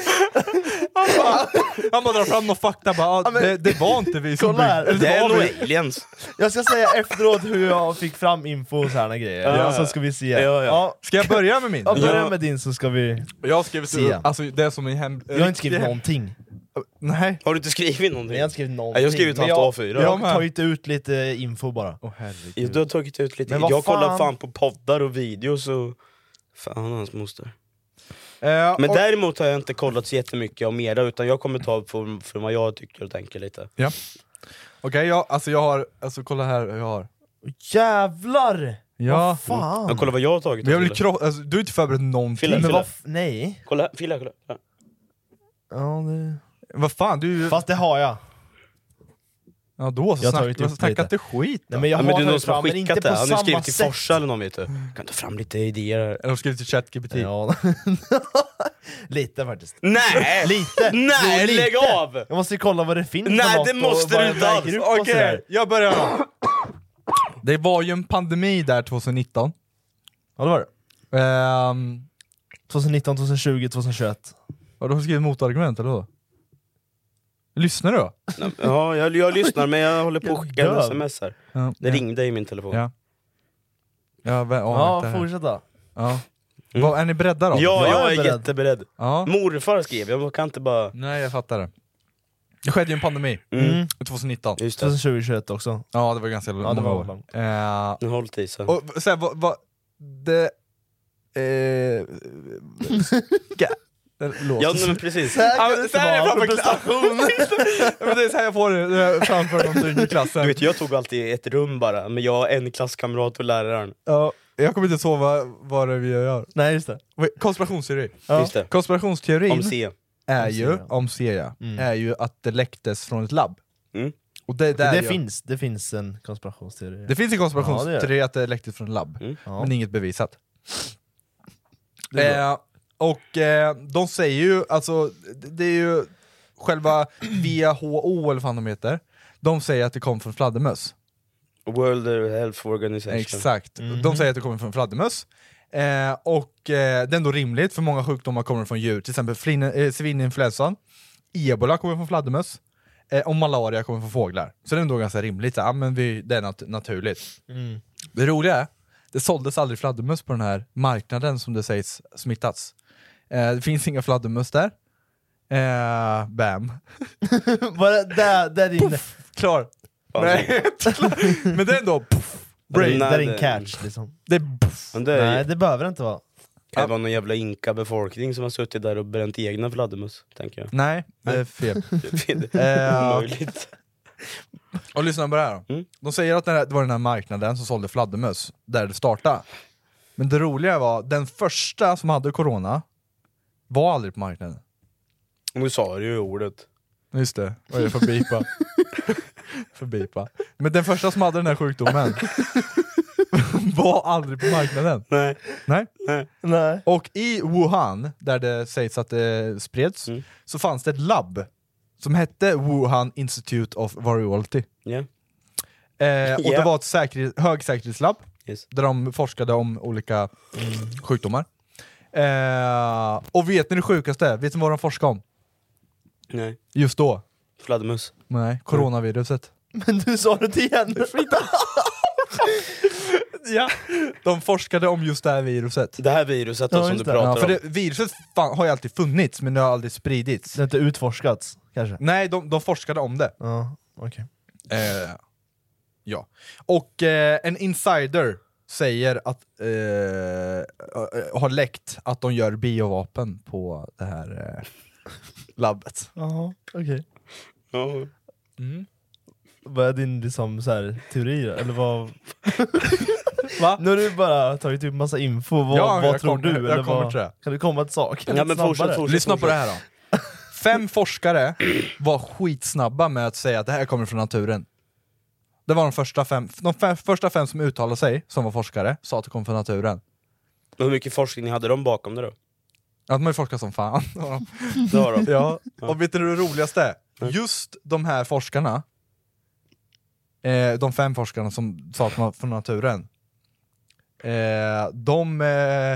[SPEAKER 2] Han bara drar fram någon fakta bara, ah,
[SPEAKER 3] men-
[SPEAKER 2] det, det var inte vi som
[SPEAKER 3] Kolla
[SPEAKER 2] byggde-
[SPEAKER 3] här.
[SPEAKER 2] eller
[SPEAKER 1] Det är
[SPEAKER 2] var
[SPEAKER 1] nog
[SPEAKER 2] vi.
[SPEAKER 1] aliens.
[SPEAKER 3] Jag ska säga efteråt hur jag fick fram info och sådana grejer.
[SPEAKER 1] Ja.
[SPEAKER 3] Så ska vi se.
[SPEAKER 1] Ja, ja.
[SPEAKER 2] Ska jag börja med min?
[SPEAKER 3] Ja, börja
[SPEAKER 1] Ja.
[SPEAKER 3] med din så ska vi...
[SPEAKER 2] Jag har skrivit
[SPEAKER 3] Se.
[SPEAKER 2] alltså, det är som en hem...
[SPEAKER 3] Jag har inte skrivit någonting.
[SPEAKER 2] Nej.
[SPEAKER 1] Har du inte skrivit någonting?
[SPEAKER 3] Jag har inte skrivit någonting.
[SPEAKER 1] Nej, jag har skrivit
[SPEAKER 3] Men
[SPEAKER 1] halvt
[SPEAKER 3] jag-
[SPEAKER 1] A4.
[SPEAKER 3] Jag
[SPEAKER 2] Jag
[SPEAKER 3] har
[SPEAKER 2] med.
[SPEAKER 3] tagit ut lite info bara.
[SPEAKER 1] Jo, Du har tagit ut lite.
[SPEAKER 3] Men vad
[SPEAKER 1] Jag kollar
[SPEAKER 3] fan?
[SPEAKER 1] fan på poddar och videos och... Fan och hans moster.
[SPEAKER 2] Eh,
[SPEAKER 1] Men
[SPEAKER 2] och-
[SPEAKER 1] däremot har jag inte kollat så jättemycket om era, utan jag kommer ta från, från vad jag tycker och tänker lite.
[SPEAKER 2] Ja. Okej, jag, alltså jag har, alltså kolla här jag har.
[SPEAKER 3] Jävlar!
[SPEAKER 2] Ja.
[SPEAKER 3] Vad fan?
[SPEAKER 1] Jag kollar vad jag har tagit.
[SPEAKER 2] Men jag
[SPEAKER 1] och
[SPEAKER 2] vill
[SPEAKER 1] Fille.
[SPEAKER 2] krossa, alltså, du är inte förberett någonting.
[SPEAKER 1] Fille,
[SPEAKER 3] Men
[SPEAKER 1] Fille.
[SPEAKER 3] vad... f- Nej.
[SPEAKER 1] Kolla, här, Fille, kolla. här.
[SPEAKER 3] Ja, det...
[SPEAKER 2] Vad fan, du
[SPEAKER 3] Fast det har jag.
[SPEAKER 2] Ja då så,
[SPEAKER 3] Jag tar
[SPEAKER 2] snack,
[SPEAKER 3] ju typ
[SPEAKER 2] så snacka
[SPEAKER 3] lite.
[SPEAKER 2] inte skit då.
[SPEAKER 3] Nej, men jag
[SPEAKER 1] Ja, men
[SPEAKER 3] har
[SPEAKER 1] det är någon
[SPEAKER 3] tagit
[SPEAKER 1] som har
[SPEAKER 3] fram, men inte
[SPEAKER 1] skickat
[SPEAKER 3] på
[SPEAKER 1] det,
[SPEAKER 3] samma
[SPEAKER 1] han har skrivit till
[SPEAKER 3] sätt.
[SPEAKER 1] Forsa eller någon vet du. Kan ta fram lite idéer här.
[SPEAKER 2] Eller har skrivit till ChatGPT.
[SPEAKER 3] Ja. lite faktiskt.
[SPEAKER 1] Nej!
[SPEAKER 3] Lite!
[SPEAKER 1] Nej,
[SPEAKER 3] Jo, lite.
[SPEAKER 1] lägg av!
[SPEAKER 3] Jag måste ju kolla vad det finns
[SPEAKER 1] Nej,
[SPEAKER 3] för något
[SPEAKER 1] det
[SPEAKER 3] och
[SPEAKER 1] måste
[SPEAKER 3] vad
[SPEAKER 1] du
[SPEAKER 3] den
[SPEAKER 1] inte
[SPEAKER 3] här
[SPEAKER 1] alls.
[SPEAKER 3] gruppen och
[SPEAKER 2] Okej,
[SPEAKER 3] sådär.
[SPEAKER 2] jag börjar då. Det var ju en pandemi där 2019.
[SPEAKER 3] Ja det var det.
[SPEAKER 2] Ehm,
[SPEAKER 3] 2019, 2020, 2021.
[SPEAKER 2] har du skrivit motargument eller vad? Lyssnar du?
[SPEAKER 1] Ja, jag, jag lyssnar men jag håller på att skicka
[SPEAKER 3] Jag
[SPEAKER 1] en
[SPEAKER 3] dör.
[SPEAKER 1] sms här.
[SPEAKER 2] Ja,
[SPEAKER 1] Det
[SPEAKER 2] ja.
[SPEAKER 1] ringde i min telefon.
[SPEAKER 2] Ja. Ja, vä- ja,
[SPEAKER 3] Ja,
[SPEAKER 2] vänta här.
[SPEAKER 3] fortsätta.
[SPEAKER 2] ja.
[SPEAKER 1] Mm.
[SPEAKER 2] Vad, Är ni beredda då?
[SPEAKER 1] Ja,
[SPEAKER 3] Jag
[SPEAKER 1] jag
[SPEAKER 3] är
[SPEAKER 1] är
[SPEAKER 3] beredd.
[SPEAKER 1] jätteberedd.
[SPEAKER 2] ja.
[SPEAKER 1] Morfar skrev, jag kan inte bara...
[SPEAKER 2] Nej, jag fattar det. Det skedde ju en pandemi
[SPEAKER 1] Mm.
[SPEAKER 2] 2019.
[SPEAKER 1] Just det.
[SPEAKER 3] 2020, 2021 också.
[SPEAKER 2] Ja, det var ganska
[SPEAKER 3] Ja, det
[SPEAKER 2] många
[SPEAKER 3] var
[SPEAKER 2] år.
[SPEAKER 3] långt.
[SPEAKER 2] Eh,
[SPEAKER 1] Nu håll till sen.
[SPEAKER 2] och v- så här, vad, vad, det... Eh, ska, låt.
[SPEAKER 1] Ja, nej, men precis.
[SPEAKER 2] Ja, men så här är det framför
[SPEAKER 3] prestation!
[SPEAKER 2] Ja, men det är så här jag får det när jag framför någonting i klassen.
[SPEAKER 1] Du vet, jag tog alltid ett rum bara, men jag har en klasskamrat och läraren.
[SPEAKER 2] Ja, jag kommer inte sova vad det är vi gör.
[SPEAKER 3] Nej just det.
[SPEAKER 2] Wait, Konspirationsteori.
[SPEAKER 3] Ja.
[SPEAKER 1] Just det.
[SPEAKER 2] Konspirationsteorin
[SPEAKER 1] Om C.
[SPEAKER 2] är
[SPEAKER 3] Om C,
[SPEAKER 2] ju,
[SPEAKER 3] ja.
[SPEAKER 2] om C ja,
[SPEAKER 3] Mm.
[SPEAKER 2] är ju att det läcktes från ett labb.
[SPEAKER 1] Mm.
[SPEAKER 2] Och det, är där
[SPEAKER 3] Det
[SPEAKER 2] jag,
[SPEAKER 3] finns, det finns en konspirationsteori.
[SPEAKER 2] det finns en
[SPEAKER 3] Ja, det
[SPEAKER 2] konspirationsteori att det läcktes från ett labb,
[SPEAKER 1] Mm.
[SPEAKER 3] Ja.
[SPEAKER 2] men inget bevisat.
[SPEAKER 3] Det är
[SPEAKER 2] Eh, och eh, de säger ju, alltså, det- det är ju själva WHO eller vad fan de heter, de säger att det kom från fladdermöss.
[SPEAKER 1] World Health Organization.
[SPEAKER 2] Exakt,
[SPEAKER 3] Mhm.
[SPEAKER 2] de säger att det kommer från fladdermöss. Eh, och eh, det är ändå rimligt, för många sjukdomar kommer från djur. Till exempel flin- eh, svininfluensan, ebola kommer från fladdermöss, eh, och malaria kommer från fåglar. Så det är ändå ganska rimligt, så, här, ja, men vi, det är nat- naturligt.
[SPEAKER 3] Mm.
[SPEAKER 2] Det roliga är, det såldes aldrig fladdermöss på den här marknaden som det sägs smittats. Eh, det finns inga fladdermöss där. Eh, bam.
[SPEAKER 3] Bara där, där din...
[SPEAKER 2] Klar.
[SPEAKER 1] Fan,
[SPEAKER 2] Nej, men det är ändå... Puff,
[SPEAKER 3] Brain,
[SPEAKER 1] Nej,
[SPEAKER 3] där din
[SPEAKER 1] det-
[SPEAKER 3] catch liksom.
[SPEAKER 2] det är puff.
[SPEAKER 1] Men det är
[SPEAKER 3] Nej det behöver det inte vara.
[SPEAKER 1] kan ju vara någon jävla inka-befolkning som har suttit där och bränt egna fladdermöss, tänker jag.
[SPEAKER 2] Nej, det är fel.
[SPEAKER 1] Det
[SPEAKER 2] Eh,
[SPEAKER 1] är omöjligt.
[SPEAKER 2] Och lyssna på det här då.
[SPEAKER 1] Mm.
[SPEAKER 2] De säger att den här, det var den här marknaden som sålde fladdermöss, där det startade. Men det roliga var, den första som hade corona var aldrig på marknaden.
[SPEAKER 1] Nu sa du ju ordet.
[SPEAKER 2] Just det, vad är det för bipa? för bipa. Men den första som hade den här sjukdomen var aldrig på marknaden.
[SPEAKER 1] Nej.
[SPEAKER 2] Nej.
[SPEAKER 3] Nej.
[SPEAKER 2] Och i Wuhan, där det sägs att det spreds,
[SPEAKER 1] Mm.
[SPEAKER 2] så fanns det ett labb som hette Wuhan Institute of Virology.
[SPEAKER 1] Ja.
[SPEAKER 2] Eh, och
[SPEAKER 1] Ja.
[SPEAKER 2] det var ett säkerhet, högsäkerhetslabb
[SPEAKER 1] Yes.
[SPEAKER 2] där de forskade om olika mm, sjukdomar. Eh, och vet ni det sjukaste? är? Vet ni vad de forskade om?
[SPEAKER 1] Nej.
[SPEAKER 2] Just då?
[SPEAKER 1] Fladdermöss.
[SPEAKER 2] Nej, coronaviruset.
[SPEAKER 3] Mm. Men du sa det igen!
[SPEAKER 2] Ja. De forskade om just det här viruset.
[SPEAKER 1] Det här viruset
[SPEAKER 3] Ja,
[SPEAKER 1] då, som du
[SPEAKER 3] just det.
[SPEAKER 1] pratar
[SPEAKER 2] Ja, för
[SPEAKER 1] om.
[SPEAKER 2] det, viruset fan, har ju alltid funnits, men det har aldrig spridits.
[SPEAKER 3] Det har inte utforskats kanske?
[SPEAKER 2] Nej, de, de forskade om det.
[SPEAKER 3] Ja, okej.
[SPEAKER 2] Eh, ja. Och eh, en insider säger att eh, eh, har läckt att de gör biovapen på det här eh, labbet. Mm.
[SPEAKER 3] Jaha, okej.
[SPEAKER 1] Ja.
[SPEAKER 3] Vad är din liksom, så här, teori då? Eller vad... Va? Nu har du bara tagit upp massa info, vad,
[SPEAKER 2] Ja,
[SPEAKER 3] vad
[SPEAKER 2] jag
[SPEAKER 3] tror
[SPEAKER 2] kommer-
[SPEAKER 3] du?
[SPEAKER 2] jag
[SPEAKER 3] eller
[SPEAKER 2] kommer
[SPEAKER 3] vad...
[SPEAKER 2] till det.
[SPEAKER 3] Kan du komma till saken? lite snabbare?
[SPEAKER 2] Lyssna på det här då. Fem forskare var skitsnabba med att säga att det här kommer från naturen. Det var de första fem, de fem, första fem som uttalade sig, som var forskare, sa att det kom från naturen.
[SPEAKER 1] Men hur mycket forskning hade de bakom det då?
[SPEAKER 2] Ja, de har ju forskat som fan.
[SPEAKER 1] Det har de.
[SPEAKER 2] ja. Och vet du det roligaste? är? Just de här forskarna, eh, de fem forskarna som sa att de var från naturen, eh, de... Eh,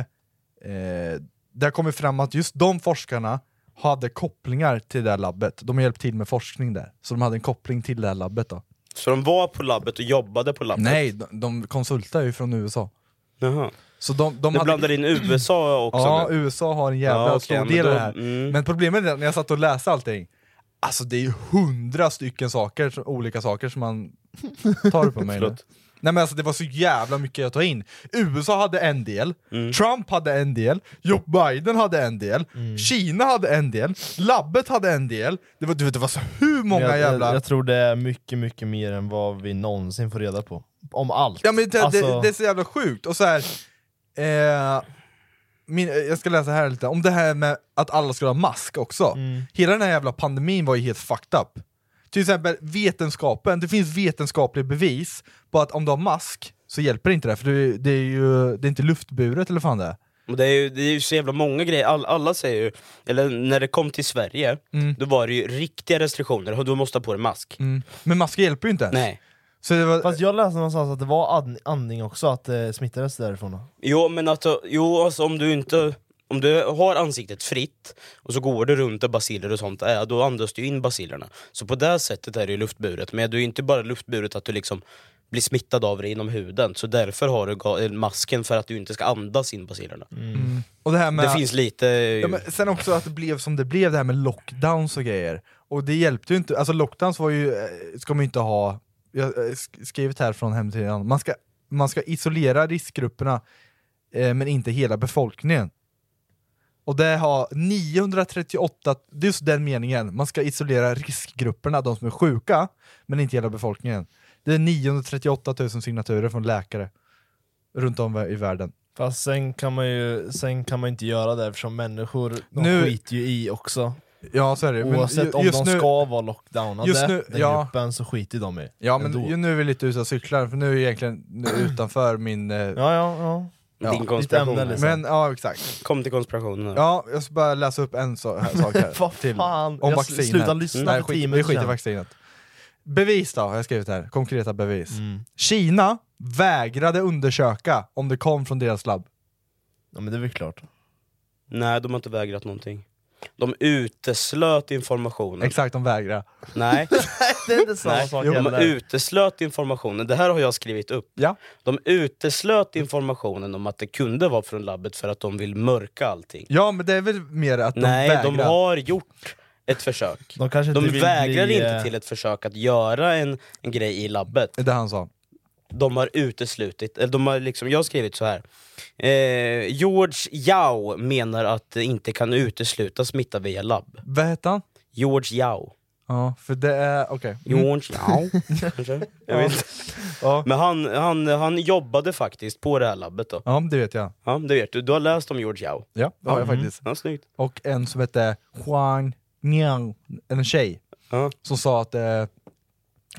[SPEAKER 2] eh, det har kommit fram att just de forskarna hade kopplingar till det här labbet. De har hjälpt till med forskning där, så de hade en koppling till det här labbet. Då.
[SPEAKER 1] Så de var på labbet och jobbade på labbet?
[SPEAKER 2] Nej, de, de konsultar ju från USA.
[SPEAKER 1] Jaha.
[SPEAKER 2] Så de, de
[SPEAKER 1] du
[SPEAKER 2] hade-
[SPEAKER 1] blandar in USA också
[SPEAKER 2] Ja,
[SPEAKER 1] nu?
[SPEAKER 2] USA har en jävla
[SPEAKER 1] Ja, okej,
[SPEAKER 2] stor
[SPEAKER 1] men
[SPEAKER 2] del i
[SPEAKER 1] då-
[SPEAKER 2] det här.
[SPEAKER 1] mm.
[SPEAKER 2] Men problemet är att när jag satt och läste allting, alltså det är ju hundra stycken saker, som- olika saker som man tar upp på mig nu.
[SPEAKER 1] Förlåt.
[SPEAKER 2] Nej men alltså det var så jävla mycket att ta in. USA hade en del,
[SPEAKER 1] Mm.
[SPEAKER 2] Trump hade en del, Joe Biden hade en del, Kina hade en del, labbet hade en del. Det var, du vet, det var så hur många
[SPEAKER 3] jag,
[SPEAKER 2] jävla...
[SPEAKER 3] Jag, jag tror det är mycket, mycket mer än vad vi någonsin får reda på. Om allt.
[SPEAKER 2] Ja, men det, det,
[SPEAKER 3] Alltså-
[SPEAKER 2] det är så jävla sjukt. Och så här, eh, min, eh, jag ska läsa här lite, om det här med att alla skulle ha mask också.
[SPEAKER 3] Mm.
[SPEAKER 2] Hela den här jävla pandemin var ju helt fucked up. Till exempel vetenskapen, det finns vetenskapliga bevis på att om du har mask så hjälper inte det, för det, det är ju det är inte luftburet eller fan det är.
[SPEAKER 1] Men Det är, ju, det är ju så jävla många grejer, All, alla säger ju, eller när det kom till Sverige,
[SPEAKER 2] Mm.
[SPEAKER 1] då var det ju riktiga restriktioner, och du måste ha på dig mask.
[SPEAKER 2] Men masker hjälper ju inte ens.
[SPEAKER 1] Nej.
[SPEAKER 2] Så det var,
[SPEAKER 3] Mm. Fast jag läste någonstans att det var and- andning också, att det smittades därifrån.
[SPEAKER 1] Jo men att, jo, alltså, om du inte om du har ansiktet fritt och så går du runt där baciller och sånt är, då andas du in bacillerna. Så på det sättet är det ju luftburet, men du är ju inte bara luftburet att du liksom blir smittad av det inom huden, så därför har du ga- eh, masken för att du inte ska andas in bacillerna.
[SPEAKER 2] och det här med,
[SPEAKER 1] Det finns lite...
[SPEAKER 2] Ja, men sen också att det blev som det blev, det här med lockdowns och grejer. Och det hjälpte ju inte, alltså lockdowns var ju, eh, ska man ju inte ha, jag har skrivit här från hemsidan, man ska, man ska isolera riskgrupperna eh, men inte hela befolkningen. Och det har 938, det är just den meningen, man ska isolera riskgrupperna, de som är sjuka, men inte hela befolkningen. Det är 938 000 signaturer från läkare runt om i världen.
[SPEAKER 3] Fast sen kan man ju sen kan man inte göra det eftersom människor de
[SPEAKER 2] Nu-
[SPEAKER 3] skiter ju i också.
[SPEAKER 2] Ja, så är det. Men ju-
[SPEAKER 3] Oavsett om
[SPEAKER 2] just
[SPEAKER 3] de
[SPEAKER 2] nu-
[SPEAKER 3] ska vara lockdownade,
[SPEAKER 2] Just nu-
[SPEAKER 3] den
[SPEAKER 2] ja.
[SPEAKER 3] gruppen, så skiter de i
[SPEAKER 2] Ja men
[SPEAKER 3] ändå.
[SPEAKER 2] ju, nu är vi lite ute och cyklar, för nu är jag egentligen nu utanför min... eh,
[SPEAKER 3] Ja, ja, ja.
[SPEAKER 1] Din
[SPEAKER 3] lite
[SPEAKER 1] konspiration.
[SPEAKER 3] ämne, liksom.
[SPEAKER 2] Men ja, exakt.
[SPEAKER 1] Kom till konspirationen.
[SPEAKER 2] Ja, jag ska bara läsa upp en så, här, sak här.
[SPEAKER 3] Vad fan?
[SPEAKER 2] Om
[SPEAKER 3] Jag
[SPEAKER 2] vaccinet. Mm.
[SPEAKER 3] slutade lyssna
[SPEAKER 2] Nej,
[SPEAKER 3] för
[SPEAKER 2] skit-
[SPEAKER 3] tio
[SPEAKER 2] Vi
[SPEAKER 3] minuter
[SPEAKER 2] skiter i
[SPEAKER 3] sedan.
[SPEAKER 2] vaccinet. Bevis då, har jag skrivit här. Konkreta bevis.
[SPEAKER 3] Mm.
[SPEAKER 2] Kina vägrade undersöka om det kom från deras labb.
[SPEAKER 3] ja men det är väl klart.
[SPEAKER 1] Nej, de har inte vägrat någonting. De uteslöt informationen.
[SPEAKER 2] Exakt, de vägrade.
[SPEAKER 1] Nej.
[SPEAKER 3] det är inte samma
[SPEAKER 1] Nej.
[SPEAKER 3] sak
[SPEAKER 1] De
[SPEAKER 3] heller.
[SPEAKER 1] uteslöt informationen, det här har jag skrivit upp.
[SPEAKER 2] Ja.
[SPEAKER 1] De uteslöt informationen om att det kunde vara från labbet för att de vill mörka allting.
[SPEAKER 2] Ja, men det är väl mer att de
[SPEAKER 1] Nej,
[SPEAKER 2] vägrar.
[SPEAKER 1] de har gjort ett försök.
[SPEAKER 3] De kanske
[SPEAKER 1] De
[SPEAKER 3] inte vill
[SPEAKER 1] vägrar
[SPEAKER 3] bli,
[SPEAKER 1] inte
[SPEAKER 3] eh,
[SPEAKER 1] till ett försök att göra en, en grej i labbet.
[SPEAKER 2] Det han sa.
[SPEAKER 1] De har uteslutit, eller de har liksom, jag har skrivit så här. Eh, George Yao menar att det inte kan utesluta smitta via labb.
[SPEAKER 2] Vad hette han?
[SPEAKER 1] George Yao.
[SPEAKER 2] Ja, för det är... Okej.
[SPEAKER 3] Mm.
[SPEAKER 2] Mm.
[SPEAKER 1] George Yao, kanske? Jag vet inte.
[SPEAKER 2] Ja.
[SPEAKER 1] Men han, han, han jobbade faktiskt på det här labbet då.
[SPEAKER 2] ja, det vet jag.
[SPEAKER 1] Ja, det vet du. Du har läst om George Yao.
[SPEAKER 2] Ja, det har jag faktiskt.
[SPEAKER 1] Ja, mm. snyggt.
[SPEAKER 2] och en som hette Huang Niang, en tjej,
[SPEAKER 1] Ja.
[SPEAKER 2] som sa att det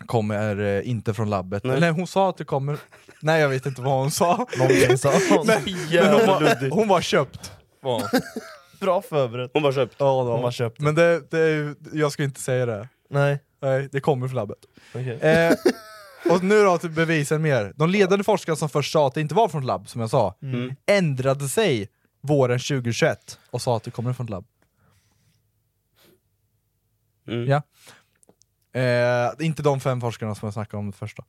[SPEAKER 2] kommer eh, inte från labbet. Eller hon sa att det kommer... Nej jag vet inte vad hon sa.
[SPEAKER 3] Någonting sa hon.
[SPEAKER 2] Men hon, var, hon var köpt.
[SPEAKER 3] Bra förberett.
[SPEAKER 1] Hon bara köpt.
[SPEAKER 2] Ja, då.
[SPEAKER 3] Hon var köpt.
[SPEAKER 2] Men det, det är, ju- jag ska inte säga det.
[SPEAKER 3] Nej.
[SPEAKER 2] Nej, det kommer från labbet.
[SPEAKER 3] Okej.
[SPEAKER 2] Eh, och nu då till bevisen mer. De ledande forskarna som först sa att det inte var från labb, som jag sa,
[SPEAKER 3] Mm.
[SPEAKER 2] ändrade sig våren 2021 och sa att det kommer från labb.
[SPEAKER 1] Mm.
[SPEAKER 2] Ja. Eh, inte de fem forskarna som jag snackade om först då.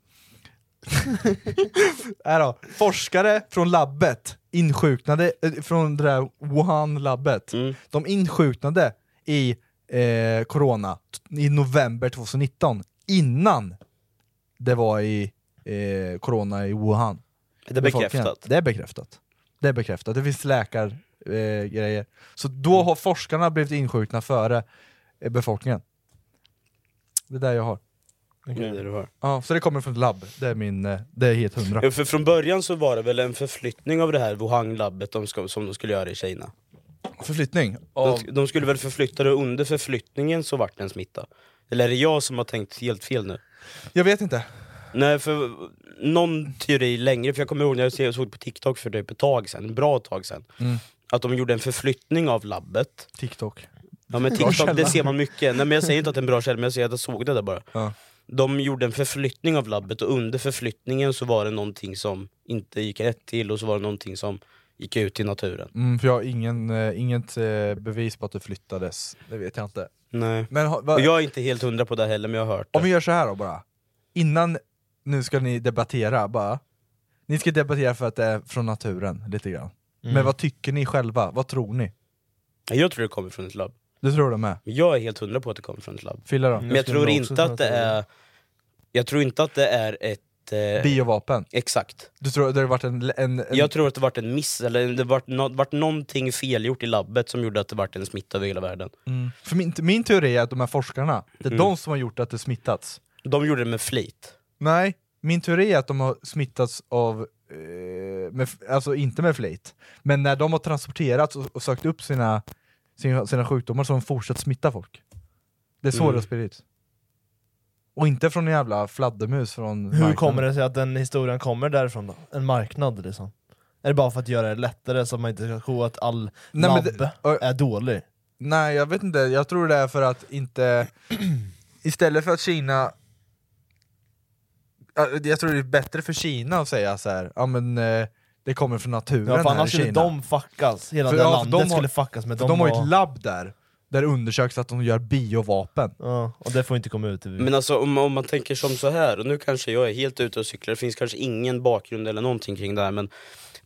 [SPEAKER 2] Här då. Forskare från labbet insjuknade, eh, från det där Wuhan-labbet,
[SPEAKER 1] Mm.
[SPEAKER 2] de insjuknade i eh, corona t- i november 2019, innan det var i eh, corona i Wuhan.
[SPEAKER 1] Är det
[SPEAKER 2] Befolkningen.
[SPEAKER 1] bekräftat?
[SPEAKER 2] Det är bekräftat. Det är bekräftat, det finns läkargrejer. Eh, grejer. Så då
[SPEAKER 1] Mm.
[SPEAKER 2] har forskarna blivit insjukna före eh, befolkningen. Det är där jag har.
[SPEAKER 1] Det är det du har.
[SPEAKER 2] Ja, så det kommer från ett labb, det är min, eh, det är helt hundra.
[SPEAKER 1] Ja, för från början så var det väl en förflyttning av det här Wuhan-labbet de ska, som de skulle göra i Kina.
[SPEAKER 2] Förflyttning?
[SPEAKER 1] De, sk- de skulle väl förflytta det, och under förflyttningen så vart det en smitta. Eller är det jag som har tänkt helt fel nu?
[SPEAKER 2] Jag vet inte.
[SPEAKER 1] Nej, för någon teori längre, för jag kommer ihåg när jag se- såg på TikTok för typ ett tag sedan, ett bra tag sedan,
[SPEAKER 2] Mm.
[SPEAKER 1] att de gjorde en förflyttning av labbet.
[SPEAKER 2] TikTok.
[SPEAKER 1] Ja men
[SPEAKER 2] Bra källa.
[SPEAKER 1] TikTok, det ser man mycket. Nej men jag säger inte att det är en bra källa, men jag säger att jag såg det där bara.
[SPEAKER 2] Ja.
[SPEAKER 1] De gjorde en förflyttning av labbet och under förflyttningen så var det någonting som inte gick rätt till och så var det någonting som gick ut i naturen.
[SPEAKER 2] Mm, för jag har ingen, eh, inget eh, bevis på att det flyttades, det vet jag inte.
[SPEAKER 1] Nej.
[SPEAKER 2] Men ha, va,
[SPEAKER 1] Och jag är inte helt hundra på det heller, men jag har hört
[SPEAKER 2] om vi
[SPEAKER 1] det.
[SPEAKER 2] gör så här då bara, innan nu ska ni debattera bara, ni ska debattera för att det är från naturen lite grann.
[SPEAKER 1] Mm.
[SPEAKER 2] Men vad tycker ni själva? Vad tror ni?
[SPEAKER 1] Jag tror det kommer från ett labb.
[SPEAKER 2] Det tror de med?
[SPEAKER 1] Men Jag är helt hundra på att det kommer från ett labb.
[SPEAKER 2] Fylla då?
[SPEAKER 3] Mm.
[SPEAKER 1] Men jag
[SPEAKER 3] skulle
[SPEAKER 1] tror
[SPEAKER 3] nog också
[SPEAKER 1] inte
[SPEAKER 3] kunna
[SPEAKER 1] att det
[SPEAKER 3] tro det.
[SPEAKER 1] är... Jag tror inte att det är ett... Eh,
[SPEAKER 2] Biovapen?
[SPEAKER 1] Exakt.
[SPEAKER 2] Du tror att det har varit en... en, en
[SPEAKER 1] Jag tror att det vart en miss, eller det vart, no, vart någonting felgjort i labbet som gjorde att det vart en smitta över hela världen.
[SPEAKER 2] mm. För min, min teori är att de här forskarna, det är
[SPEAKER 1] Mm.
[SPEAKER 2] de som har gjort att det smittats.
[SPEAKER 1] De gjorde det med flit.
[SPEAKER 2] Nej, min teori är att de har smittats av, eh, med, alltså inte med flit, men när de har transporterats och, och sökt upp sina, sina, sina sjukdomar så har de fortsatt smitta folk. Det är så
[SPEAKER 1] Mm.
[SPEAKER 2] det har spridits. Och inte från en jävla fladdermus från
[SPEAKER 3] Hur kommer det sig att den historien kommer därifrån då? En marknad liksom? Är det bara för att göra det lättare så att man inte ska tro att all
[SPEAKER 2] Nej, men
[SPEAKER 3] labb
[SPEAKER 2] det- ö-
[SPEAKER 3] är dålig?
[SPEAKER 2] Nej, jag vet inte. Jag tror det är för att inte... Istället för att Kina... Ja, Jag tror det är bättre för Kina att säga så här. ja men eh, det kommer från naturen
[SPEAKER 3] Ja, för
[SPEAKER 2] här i
[SPEAKER 3] annars skulle
[SPEAKER 2] Kina.
[SPEAKER 3] de fuckas, hela
[SPEAKER 2] För
[SPEAKER 3] det
[SPEAKER 2] ja, för
[SPEAKER 3] landet
[SPEAKER 2] de har-
[SPEAKER 3] skulle fuckas med
[SPEAKER 2] För de har ju
[SPEAKER 3] och-
[SPEAKER 2] ett labb där, där det undersöks att de gör biovapen.
[SPEAKER 3] Ja, och det får inte komma ut i
[SPEAKER 1] Men alltså om, om man tänker som så här, och nu kanske jag är helt ute och cyklar, det finns kanske ingen bakgrund eller någonting kring det här men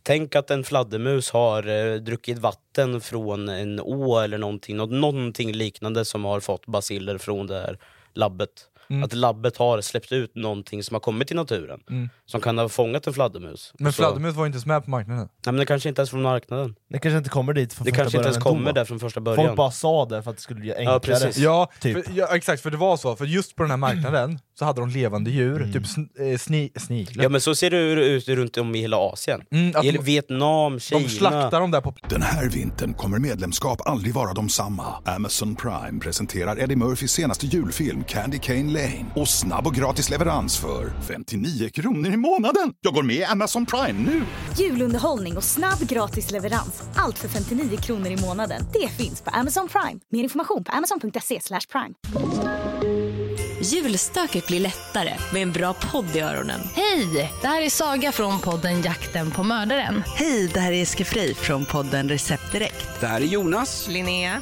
[SPEAKER 1] Tänk att en fladdermus har eh, druckit vatten från en å eller någonting, något, någonting liknande som har fått baciller från det här labbet.
[SPEAKER 2] Mm.
[SPEAKER 1] Att labbet har släppt ut någonting som har kommit till naturen,
[SPEAKER 2] Mm.
[SPEAKER 1] som kan ha fångat en fladdermus.
[SPEAKER 2] Men
[SPEAKER 1] Så-
[SPEAKER 2] fladdermus var ju inte ens med på marknaden.
[SPEAKER 1] Nej men det kanske inte ens är från marknaden.
[SPEAKER 3] Det kanske inte kommer dit från
[SPEAKER 1] Det
[SPEAKER 3] första
[SPEAKER 1] kanske inte
[SPEAKER 3] början
[SPEAKER 1] ens
[SPEAKER 3] ändå.
[SPEAKER 1] kommer där från första början.
[SPEAKER 3] Folk bara sa det för att det skulle bli enklare.
[SPEAKER 1] precis.
[SPEAKER 2] Ja,
[SPEAKER 3] Typ.
[SPEAKER 2] för, ja, exakt, för det var så. För just på den här marknaden så hade de levande djur,
[SPEAKER 3] Mm.
[SPEAKER 2] typ sn, eh, sni, sniglar.
[SPEAKER 1] Ja men så ser det ut runt om i hela Asien.
[SPEAKER 2] Mm, att
[SPEAKER 1] I
[SPEAKER 2] de-
[SPEAKER 1] Vietnam, Kina.
[SPEAKER 2] de slaktar dem där på
[SPEAKER 5] Den här vintern kommer medlemskap aldrig vara de samma. Amazon Prime presenterar Eddie Murphys senaste julfilm Candy Cane Lane. Och snabb och gratis leverans för 59 kronor i månaden. Jag går med i Amazon Prime nu!
[SPEAKER 6] Julunderhållning och snabb gratis leverans. Allt för 59 kronor i månaden. Det finns på Amazon Prime. Mer information på amazon.se slash prime.
[SPEAKER 7] Julstöket blir lättare med en bra podd i öronen. Hej! Det här är Saga från podden Jakten på mördaren.
[SPEAKER 4] Hej, det här är Jessica Frey från podden Recept Direkt.
[SPEAKER 8] Det här är Jonas
[SPEAKER 7] Linnea.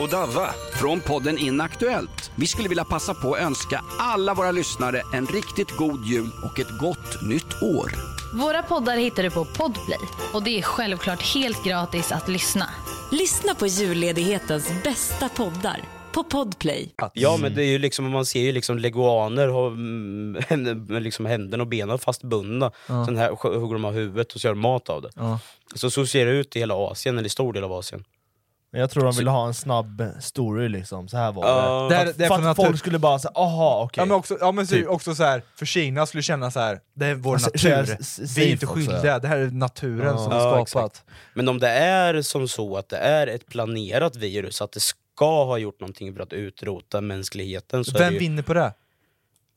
[SPEAKER 8] och Davva från podden Inaktuellt. Vi skulle vilja passa på att önska alla våra lyssnare en riktigt god jul och ett gott nytt år.
[SPEAKER 7] Våra poddar hittar du på Podplay och det är självklart helt gratis att lyssna. Lyssna på julledighetens bästa poddar på Podplay.
[SPEAKER 1] Ja
[SPEAKER 3] Mm.
[SPEAKER 1] men det är ju liksom, man ser ju liksom leguaner har mm, händer- liksom händerna och benen fastbundna. Sen här sk- hugger de av huvudet och så gör de mat av det.
[SPEAKER 2] Ja.
[SPEAKER 1] Så, så ser det ut i hela Asien, eller i stor del av Asien.
[SPEAKER 3] Men Jag tror de ville ha en snabb eh, story liksom, så här var
[SPEAKER 1] Ja.
[SPEAKER 3] det. För
[SPEAKER 2] Det här-
[SPEAKER 3] att-
[SPEAKER 2] det är
[SPEAKER 3] för
[SPEAKER 2] från
[SPEAKER 3] att folk
[SPEAKER 2] natur-
[SPEAKER 3] skulle bara säga aha okej.
[SPEAKER 2] Ja men också, ja, men så,
[SPEAKER 3] Typ.
[SPEAKER 2] också så här, för Kina skulle känna så här. det är vår
[SPEAKER 3] Alltså,
[SPEAKER 2] natur,
[SPEAKER 3] s- s-
[SPEAKER 2] vi är
[SPEAKER 3] safe
[SPEAKER 2] inte
[SPEAKER 3] också,
[SPEAKER 2] skyldiga,
[SPEAKER 3] ja.
[SPEAKER 2] det här är naturen
[SPEAKER 3] Ja.
[SPEAKER 2] som
[SPEAKER 1] Ja,
[SPEAKER 2] har skapat.
[SPEAKER 1] exakt. Men om det är som så att det är ett planerat virus, att det ska ha gjort någonting för att utrota mänskligheten. Så är
[SPEAKER 2] Vem
[SPEAKER 1] det, ju,
[SPEAKER 2] vinner på det?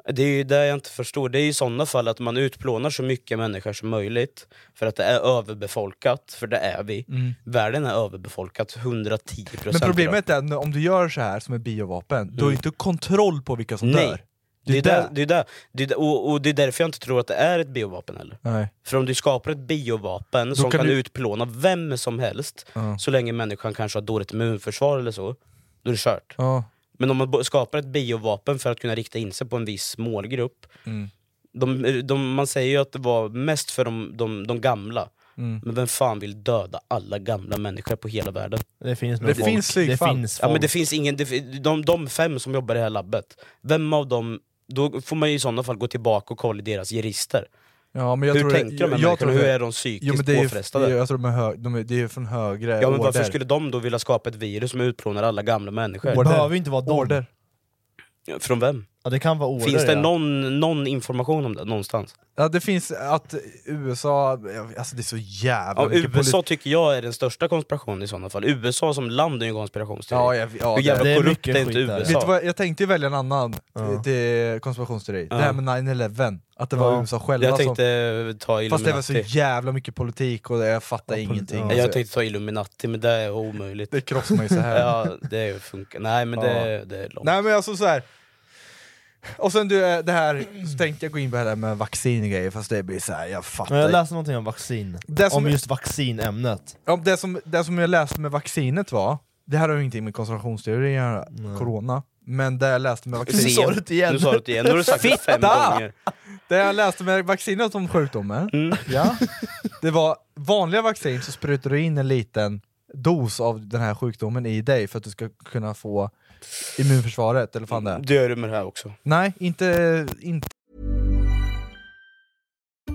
[SPEAKER 1] det är ju det jag inte förstår. Det är ju i sådana fall att man utplånar så mycket människor som möjligt. För att det är överbefolkat, för det är vi. Världen är överbefolkat 110%
[SPEAKER 2] Mm. Men
[SPEAKER 1] idag.
[SPEAKER 2] problemet är att om du gör så här som är biovapen, du har ju inte kontroll på vilka som
[SPEAKER 1] Mm. Nej.
[SPEAKER 2] dör.
[SPEAKER 1] Det är
[SPEAKER 2] Det är
[SPEAKER 1] där, det är där, det är där, och, och det är därför jag inte tror att det är ett biovapen heller.
[SPEAKER 2] Nej.
[SPEAKER 1] För om du skapar ett biovapen som
[SPEAKER 2] kan
[SPEAKER 1] kan,
[SPEAKER 2] du-
[SPEAKER 1] utplåna vem som helst,
[SPEAKER 2] Ja.
[SPEAKER 1] så länge människan kanske har dåligt immunförsvar eller så, då är det kört.
[SPEAKER 2] Ja.
[SPEAKER 1] Men om man bo- skapar ett biovapen för att kunna rikta in sig på en viss målgrupp,
[SPEAKER 2] Mm.
[SPEAKER 1] de, de, man säger ju att det var mest för de, de, de gamla,
[SPEAKER 2] Mm.
[SPEAKER 1] men vem fan vill döda alla gamla människor på hela världen?
[SPEAKER 3] Det finns nog
[SPEAKER 2] Det
[SPEAKER 3] folk.
[SPEAKER 2] finns
[SPEAKER 3] det
[SPEAKER 2] flygfall.
[SPEAKER 3] finns
[SPEAKER 1] Ja,
[SPEAKER 3] folk.
[SPEAKER 1] men det finns ingen, det, fi- de, de fem som jobbar i det här labbet, vem av dem, då får man ju i sådana fall gå tillbaka och kolla i deras register.
[SPEAKER 2] Ja, men jag
[SPEAKER 1] hur
[SPEAKER 2] tror
[SPEAKER 1] tänker de här
[SPEAKER 2] jag, jag
[SPEAKER 1] människorna?
[SPEAKER 2] tror
[SPEAKER 1] Hur
[SPEAKER 2] det-
[SPEAKER 1] är de
[SPEAKER 2] jo, men
[SPEAKER 1] psykiskt
[SPEAKER 2] det är,
[SPEAKER 1] påfrestade?
[SPEAKER 2] ju- Jag tror de är, hö, de är, det är ju från högre
[SPEAKER 1] ja, men
[SPEAKER 2] order.
[SPEAKER 1] varför skulle de då vilja skapa ett virus som utplånar alla gamla människor?
[SPEAKER 2] Order.
[SPEAKER 3] behöver ju inte vara dem.
[SPEAKER 2] order.
[SPEAKER 1] Från vem?
[SPEAKER 3] Ja, det kan vara order,
[SPEAKER 1] Finns det
[SPEAKER 3] ja.
[SPEAKER 1] någon, någon information om det någonstans?
[SPEAKER 2] Ja, det finns att USA, alltså det är så jävla
[SPEAKER 1] Ja,
[SPEAKER 2] mycket
[SPEAKER 1] USA tycker jag är den största konspirationen i sådana fall. USA som land är ju en konspirationsteori.
[SPEAKER 2] Ja, jag- ja,
[SPEAKER 1] Hur jävla
[SPEAKER 2] det- det är
[SPEAKER 1] korrupt
[SPEAKER 2] mycket
[SPEAKER 1] är inte
[SPEAKER 2] skit där.
[SPEAKER 1] USA?
[SPEAKER 2] Vet du vad, jag tänkte ju välja en annan
[SPEAKER 1] Ja.
[SPEAKER 2] ja. konspirationsteori,
[SPEAKER 1] Ja.
[SPEAKER 2] det här med 9-11, att det var
[SPEAKER 1] Ja.
[SPEAKER 2] USA själva
[SPEAKER 1] Jag tänkte
[SPEAKER 2] som...
[SPEAKER 1] ta
[SPEAKER 2] Fast det var
[SPEAKER 1] Illuminati.
[SPEAKER 2] så jävla mycket politik och det- jag fattar ingenting. Alltså,
[SPEAKER 1] Ja, jag tänkte ta Illuminati, men det är omöjligt.
[SPEAKER 2] Det krossar man ju så här.
[SPEAKER 1] ja, det funkar. Nej, men det,
[SPEAKER 2] Ja.
[SPEAKER 1] det är långt.
[SPEAKER 2] Nej men alltså så här. Och sen du, eh, det här, så tänkte jag gå in på det här med vaccin och grejer, fast det blir så här, jag fattar
[SPEAKER 3] Men jag läste någonting om vaccin,
[SPEAKER 2] Det som
[SPEAKER 3] om
[SPEAKER 2] är-
[SPEAKER 3] just vaccinämnet.
[SPEAKER 2] Ja, det, som, det som jag läste med vaccinet var, det här har ju ingenting med konspirationsteorier att göra, corona, men det jag läste med vaccinet...
[SPEAKER 1] Nu sa du det igen. Nu sa du det igen. Nu har du sagt det fem
[SPEAKER 2] Fitta!
[SPEAKER 1] gånger.
[SPEAKER 2] Det jag läste med vaccinet om sjukdomen,
[SPEAKER 1] Mm.
[SPEAKER 2] ja, det var vanliga vaccin så sprutar du in en liten dos av den här sjukdomen i dig för att du ska kunna få immunförsvaret, eller fan det är.
[SPEAKER 1] Det gör du med det här också.
[SPEAKER 2] Nej, inte, inte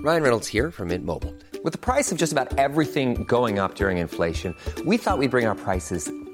[SPEAKER 9] Ryan Reynolds here from Mint Mobile. With the price of just about everything going up during inflation, we thought we'd bring our prices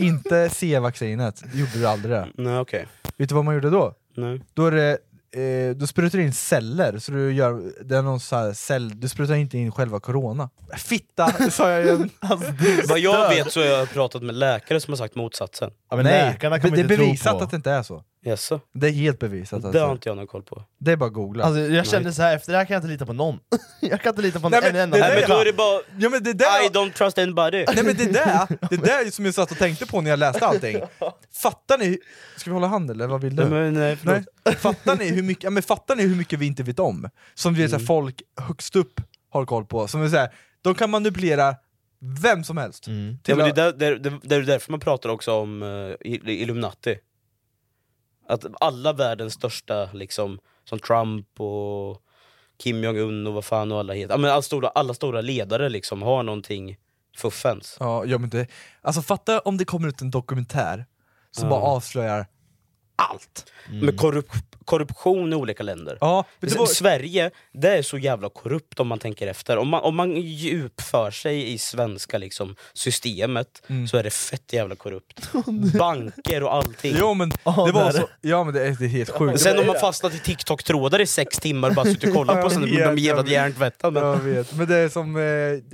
[SPEAKER 2] inte C-vaccinet, gjorde du aldrig det.
[SPEAKER 1] Nej, okej.
[SPEAKER 2] Vet du vad man gjorde då?
[SPEAKER 1] Nej.
[SPEAKER 2] Då är det, eh, du sprutar in celler, så du gör, det är någon så här cell, du sprutar inte in själva corona. Fitta, sa jag igen.
[SPEAKER 1] Vad jag vet så har jag pratat med läkare som har sagt motsatsen.
[SPEAKER 2] det är bevisat att det inte är så.
[SPEAKER 1] Jaså?
[SPEAKER 2] Det är helt bevisat.
[SPEAKER 1] Det
[SPEAKER 2] Alltså.
[SPEAKER 1] har inte jag någon koll på.
[SPEAKER 2] Det är bara att googla.
[SPEAKER 3] Alltså, jag kände så här efter det här kan jag inte lita på någon. jag kan inte lita på
[SPEAKER 2] Nej,
[SPEAKER 3] en
[SPEAKER 2] men
[SPEAKER 3] enda.
[SPEAKER 2] det där-
[SPEAKER 3] människa.
[SPEAKER 2] men då är det
[SPEAKER 1] bara,
[SPEAKER 2] ja, men det där,
[SPEAKER 1] I don't trust anybody.
[SPEAKER 2] Nej men det där, det där är som jag satt och tänkte på när jag läste allting. Fattar ni? Ska vi hålla hand eller vad vill du?
[SPEAKER 1] Nej, men nej, förlåt.
[SPEAKER 2] Fattar, ni hur mycket, ja, men fattar ni hur mycket vi inte vet om? Som vi, så
[SPEAKER 1] Mm.
[SPEAKER 2] här, folk högst upp har koll på. Som är så här, de kan manipulera vem som helst.
[SPEAKER 1] Mm. Ja,
[SPEAKER 2] Till
[SPEAKER 1] men
[SPEAKER 2] att-
[SPEAKER 1] det, är där, det, är- det, det är därför man pratar också om eh, Ill- Illuminati. Att alla världens största, liksom, som Trump och Kim Jong-Un och vad fan och alla heter. Ja, men alla, stora, alla stora ledare liksom har någonting fuffens.
[SPEAKER 2] Ja, ja, men det, alltså fatta om det kommer ut en dokumentär som
[SPEAKER 1] Ja.
[SPEAKER 2] bara avslöjar allt.
[SPEAKER 1] Med korrup korruption i olika länder.
[SPEAKER 2] Ja, men det var-
[SPEAKER 1] Sverige, det är så jävla korrupt om man tänker efter. Om man, om man djupför sig i svenska liksom, systemet
[SPEAKER 2] Mm.
[SPEAKER 1] så är det fett jävla korrupt. Banker och allting.
[SPEAKER 2] Jo men det var så, ja men det är det är helt sjukt.
[SPEAKER 1] Sen
[SPEAKER 2] Det
[SPEAKER 1] har
[SPEAKER 2] var-
[SPEAKER 1] man fastnat i TikTok-trådar i sex timmar och bara suttit och kollat på sen blir
[SPEAKER 2] Jag
[SPEAKER 1] man
[SPEAKER 2] vet,
[SPEAKER 1] jävla
[SPEAKER 2] jag vet.
[SPEAKER 1] hjärntvättad. men-
[SPEAKER 2] Jag vet, men det är som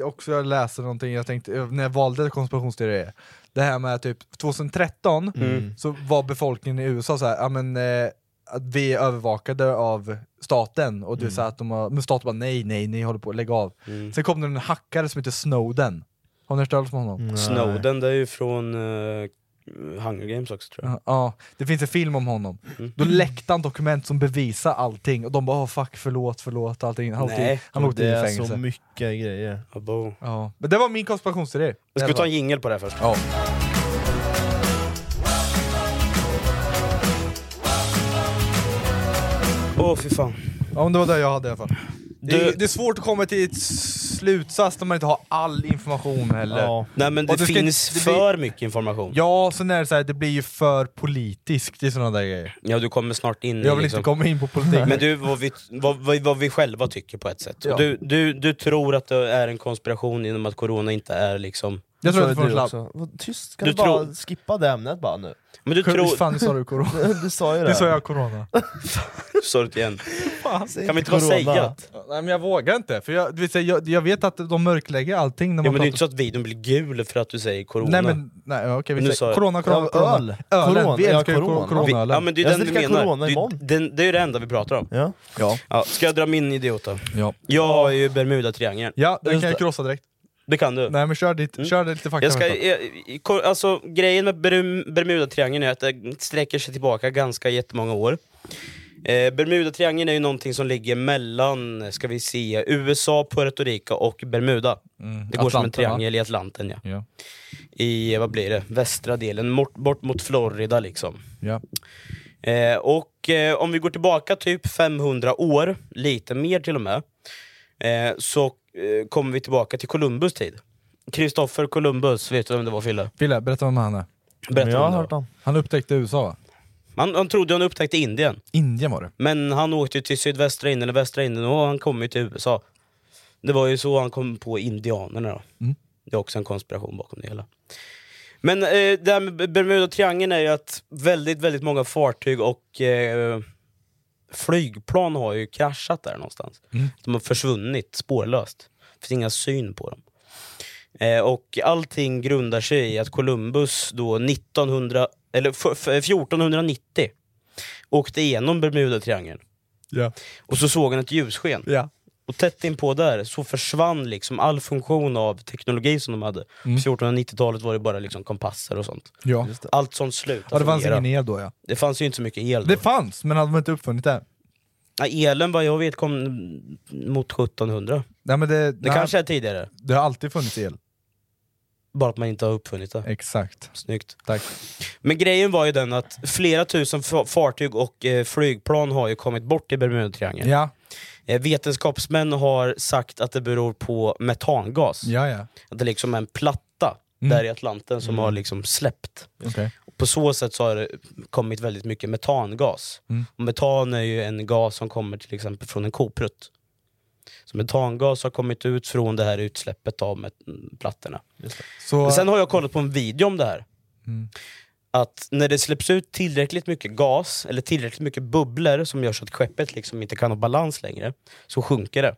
[SPEAKER 2] eh, också jag läste någonting, jag tänkte, eh, när jag valde konspirationsteorier, det här med typ 2013
[SPEAKER 3] Mm.
[SPEAKER 2] så var befolkningen i USA så här, ja men eh, att vi är övervakade av staten och du
[SPEAKER 3] Mm.
[SPEAKER 2] sa att de har, men staten bara nej, nej, ni håller på att lägga av.
[SPEAKER 1] Mm.
[SPEAKER 2] Sen kom det en hackare som heter Snowden. Har ni hört talas om honom?
[SPEAKER 1] Mm. Snowden, det är ju från eh, Hunger Games också tror jag.
[SPEAKER 2] Ja, Ja, det finns en film om honom.
[SPEAKER 1] Mm.
[SPEAKER 2] Då läckte han dokument som bevisar allting och de bara oh, fuck, förlåt, förlåt, allting. Han åkte- han åkte in i fängelse.
[SPEAKER 3] mycket grejer.
[SPEAKER 1] Abo.
[SPEAKER 2] Ja. Men det var min konspirationsteori.
[SPEAKER 1] Jag ska ta en jingel på det här först.
[SPEAKER 2] Ja.
[SPEAKER 1] Åh fy fan.
[SPEAKER 2] Ja, men det var det jag hade i alla fall. Det, är-
[SPEAKER 1] Du-
[SPEAKER 2] det är svårt att komma till ett slutsats när man inte har all information heller.
[SPEAKER 1] Ja. Nej men det,
[SPEAKER 2] Och du ska
[SPEAKER 1] finns
[SPEAKER 2] inte- det blir-
[SPEAKER 1] för mycket information.
[SPEAKER 2] Ja, sen är det så här, det blir ju för politiskt i sådana där grejer.
[SPEAKER 1] Ja du kommer snart in i liksom-
[SPEAKER 2] Jag vill inte komma in på politik.
[SPEAKER 1] Men du, vad vi, vad, vad, vad vi själva tycker på ett sätt.
[SPEAKER 2] Ja.
[SPEAKER 1] Du, du, du tror att det är en konspiration genom att corona inte är liksom
[SPEAKER 2] Jag tror
[SPEAKER 3] Så
[SPEAKER 2] att
[SPEAKER 3] är
[SPEAKER 2] du får en slapp.
[SPEAKER 3] också. Vad Tyst, kan
[SPEAKER 2] Du
[SPEAKER 3] du, bara
[SPEAKER 2] tror-
[SPEAKER 3] skippa det ämnet bara nu?
[SPEAKER 1] Men du tror-
[SPEAKER 2] Fan, du sa du corona.
[SPEAKER 3] du sa ju det.
[SPEAKER 2] Det sa jag corona.
[SPEAKER 1] Sa det igen.
[SPEAKER 3] Säg
[SPEAKER 1] Kan
[SPEAKER 3] inte
[SPEAKER 1] vi inte bara
[SPEAKER 3] corona.
[SPEAKER 1] säga att...
[SPEAKER 2] Nej men jag vågar inte, för jag, du vet, jag, jag vet att de mörklägger allting när
[SPEAKER 1] Ja, men
[SPEAKER 2] man
[SPEAKER 1] det är
[SPEAKER 2] pratar
[SPEAKER 1] inte så att videon blir gul för att du säger corona.
[SPEAKER 2] Nej men, nej, okej vi
[SPEAKER 1] Nu sa
[SPEAKER 2] säger
[SPEAKER 1] jag-
[SPEAKER 2] corona, corona,
[SPEAKER 1] Ja,
[SPEAKER 2] corona. Alltså,
[SPEAKER 1] öl.
[SPEAKER 2] Ölen,
[SPEAKER 1] Corona.
[SPEAKER 2] vi
[SPEAKER 1] Ja,
[SPEAKER 2] älskar ju
[SPEAKER 1] corona.
[SPEAKER 2] cor- coronaölen.
[SPEAKER 1] Vi- Ja men det är ju
[SPEAKER 3] Jag
[SPEAKER 1] den du
[SPEAKER 3] ska dricka
[SPEAKER 1] menar.
[SPEAKER 3] corona
[SPEAKER 1] Det,
[SPEAKER 3] imorgon.
[SPEAKER 1] är- den, det är ju det enda vi pratar om.
[SPEAKER 3] Ja.
[SPEAKER 2] Ja.
[SPEAKER 1] Ska jag dra min idiota?
[SPEAKER 2] Ja.
[SPEAKER 1] Jag har ju Bermuda-triangeln.
[SPEAKER 2] Ja, den kan jag krossa direkt.
[SPEAKER 1] Det kan du.
[SPEAKER 2] Nej men kör, dit, kör dit lite fakta
[SPEAKER 1] Jag ska,
[SPEAKER 2] först då.
[SPEAKER 1] jag, i- ko- alltså, grejen med Berm- Bermudatriangeln är att den sträcker sig tillbaka ganska jättemånga år. Eh, Bermudatriangeln är ju någonting som ligger mellan, ska vi se, USA, Puerto Rico och Bermuda.
[SPEAKER 2] Mm,
[SPEAKER 1] Det går som en
[SPEAKER 2] Atlanten, va?
[SPEAKER 1] triangel i Atlanten ja.
[SPEAKER 2] Ja.
[SPEAKER 1] I, eh, vad blir det, västra delen, bort, bort mot Florida liksom.
[SPEAKER 2] Ja.
[SPEAKER 1] Eh, och eh, om vi går tillbaka typ 500 år, lite mer till och med, eh, så eh, kommer vi tillbaka till Columbus tid. Kristoffer Columbus, vet du vem det var Fille?
[SPEAKER 2] Fille, berätta om han är.
[SPEAKER 1] Berätta Jag om har det då. hört
[SPEAKER 3] om.
[SPEAKER 2] Han upptäckte USA va?
[SPEAKER 1] Han, han trodde han upptäckte Indien,
[SPEAKER 2] Indien var det.
[SPEAKER 1] men han åkte ju till sydvästra Indien, eller västra Indien och han kom ju till USA. Det var ju så han kom på indianerna då.
[SPEAKER 2] Mm.
[SPEAKER 1] Det är också en konspiration bakom det hela. Men eh, det här med Bermuda-triangeln är ju att väldigt, väldigt många fartyg och eh, flygplan har ju kraschat där någonstans.
[SPEAKER 2] Mm.
[SPEAKER 1] De har försvunnit spårlöst. Det finns inga syn på dem. Eh, och allting grundar sig i att Columbus då 1900, eller f- f- 1490 åkte igenom Bermuda-triangeln.
[SPEAKER 2] Ja.
[SPEAKER 1] Och så såg han ett ljussken.
[SPEAKER 2] Ja.
[SPEAKER 1] Och tätt inpå där så försvann liksom all funktion av teknologi som de hade.
[SPEAKER 2] Mm.
[SPEAKER 1] På 1490-talet var det bara liksom kompasser och sånt.
[SPEAKER 2] Ja.
[SPEAKER 1] Allt sånt slutade
[SPEAKER 2] ja det fanns
[SPEAKER 1] fungera.
[SPEAKER 2] ingen el då ja.
[SPEAKER 1] Det fanns ju inte så mycket el då.
[SPEAKER 2] Det fanns, men hade man inte uppfunnit det?
[SPEAKER 1] Ja, elen vad jag vet kom mot 1700.
[SPEAKER 2] Nej, men det
[SPEAKER 1] Det
[SPEAKER 2] nej,
[SPEAKER 1] kanske är tidigare,
[SPEAKER 2] det har alltid funnits el.
[SPEAKER 1] bara att man inte har uppfunnit det.
[SPEAKER 2] Exakt.
[SPEAKER 1] Snyggt.
[SPEAKER 2] Tack.
[SPEAKER 1] Men grejen var ju den att flera tusen fa- fartyg och eh, flygplan har ju kommit bort i Bermudatriangeln.
[SPEAKER 2] Ja,
[SPEAKER 1] Eh, vetenskapsmän har sagt att det beror på metangas.
[SPEAKER 2] ja, ja.
[SPEAKER 1] Att det liksom är en platta
[SPEAKER 2] Mm.
[SPEAKER 1] där i Atlanten som har liksom släppt.
[SPEAKER 2] Okej.
[SPEAKER 1] På så sätt så har det kommit väldigt mycket metangas.
[SPEAKER 2] Mm.
[SPEAKER 1] Och metan är ju en gas som kommer till exempel från en koprutt. Så metangas har kommit ut från det här utsläppet av met- plattorna.
[SPEAKER 2] Så,
[SPEAKER 1] Men sen har jag kollat på en video om det här.
[SPEAKER 2] Mm.
[SPEAKER 1] Att när det släpps ut tillräckligt mycket gas, eller tillräckligt mycket bubblor som gör så att skeppet liksom inte kan ha balans längre, så sjunker det.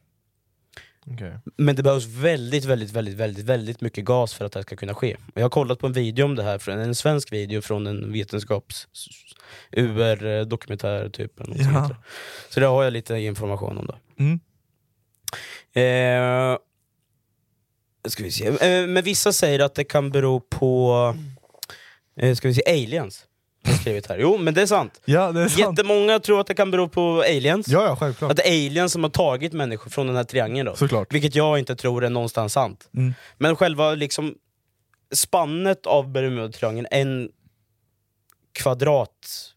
[SPEAKER 3] Okej.
[SPEAKER 1] Men det behövs väldigt, väldigt, väldigt, väldigt, väldigt mycket gas för att det här ska kunna ske. Och Jag har kollat på en video om det här, från- en svensk video från en vetenskaps... UR-dokumentär typ. eller något
[SPEAKER 2] Ja.
[SPEAKER 1] som heter. Så det har jag lite information om då.
[SPEAKER 2] Mm.
[SPEAKER 1] Eh, ska vi se. Eh, men vissa säger att det kan bero på eh, ska vi se, aliens. Har jag skrivit här. Jo, men det är sant.
[SPEAKER 2] ja, det är sant.
[SPEAKER 1] Jättemånga tror att det kan bero på aliens.
[SPEAKER 2] Ja, ja, självklart.
[SPEAKER 1] Att det är aliens som har tagit människor från den här triangeln då.
[SPEAKER 2] Såklart.
[SPEAKER 1] Vilket jag inte tror är någonstans sant.
[SPEAKER 2] Mm.
[SPEAKER 1] Men själva liksom spannet av Bermudatriangeln, en kvadrat...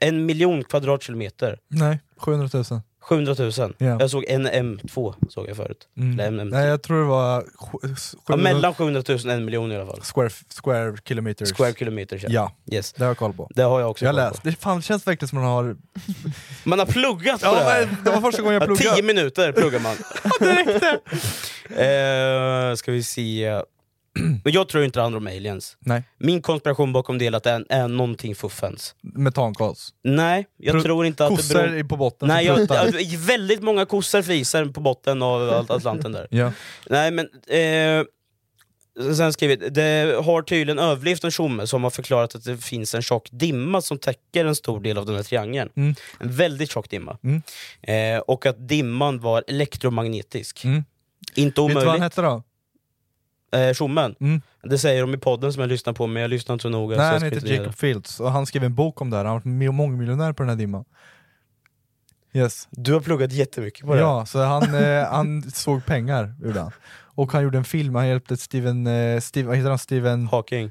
[SPEAKER 1] En miljon kvadratkilometer.
[SPEAKER 2] Nej, 700 000.
[SPEAKER 1] 700 000.
[SPEAKER 2] Ja.
[SPEAKER 1] Jag såg en M2 såg jag förut.
[SPEAKER 2] Mm.
[SPEAKER 1] Eller en M2.
[SPEAKER 2] Nej, jag tror det var sju-
[SPEAKER 1] ja,
[SPEAKER 2] 700
[SPEAKER 1] mellan 700 000 och en miljon i alla fall.
[SPEAKER 2] square, square kilometers.
[SPEAKER 1] Square kilometer. känner jag.
[SPEAKER 2] Ja,
[SPEAKER 1] Yes.
[SPEAKER 2] det har jag koll på.
[SPEAKER 1] Det har jag också
[SPEAKER 2] Jag har
[SPEAKER 1] koll
[SPEAKER 2] läst. Det fan, det känns verkligen som man har...
[SPEAKER 1] på. Man har pluggat på
[SPEAKER 2] Ja,
[SPEAKER 1] det här.
[SPEAKER 2] men det var första gången jag
[SPEAKER 1] Ja,
[SPEAKER 2] pluggade.
[SPEAKER 1] Tio minuter pluggar man. eh, ska vi se. Men jag tror inte det handlar om aliens.
[SPEAKER 2] Nej,
[SPEAKER 1] Min konspiration bakom det är att det är, är någonting fuffens.
[SPEAKER 2] metangas.
[SPEAKER 1] Nej, jag
[SPEAKER 2] Pro-
[SPEAKER 1] tror inte att det
[SPEAKER 2] Kossor
[SPEAKER 1] beror...
[SPEAKER 2] i- på botten
[SPEAKER 1] Nej,
[SPEAKER 2] som
[SPEAKER 1] jag,
[SPEAKER 2] pruttar.
[SPEAKER 1] jag- väldigt många kossor fiser på botten av At- Atlanten där.
[SPEAKER 2] Ja.
[SPEAKER 1] Nej men, eh, sen skriver det har tydligen överlevt en tjomme som har förklarat att det finns en tjock dimma som täcker en stor del av den här triangeln.
[SPEAKER 2] Mm.
[SPEAKER 1] En väldigt tjock dimma.
[SPEAKER 2] Mm.
[SPEAKER 1] Eh, och att dimman var elektromagnetisk.
[SPEAKER 2] Mm.
[SPEAKER 1] Inte
[SPEAKER 2] Vet du vad han
[SPEAKER 1] omöjligt.
[SPEAKER 2] hette då?
[SPEAKER 1] Eh, Tjommen,
[SPEAKER 2] Mm.
[SPEAKER 1] det säger de i podden som jag lyssnar på men jag lyssnar inte så noga.
[SPEAKER 2] Nej,
[SPEAKER 1] så jag
[SPEAKER 2] han
[SPEAKER 1] ska
[SPEAKER 2] heter
[SPEAKER 1] inte vidare.
[SPEAKER 2] Jacob Fields och han skrev en bok om det här. Han har varit mångmiljonär på den här dimman. Yes.
[SPEAKER 1] Du har pluggat jättemycket på det här.
[SPEAKER 2] Ja, så han, eh, han såg pengar ur den. Och han gjorde en film, han hjälpte Steven... Eh, Steven vad heter han? Steven...
[SPEAKER 1] Hawking.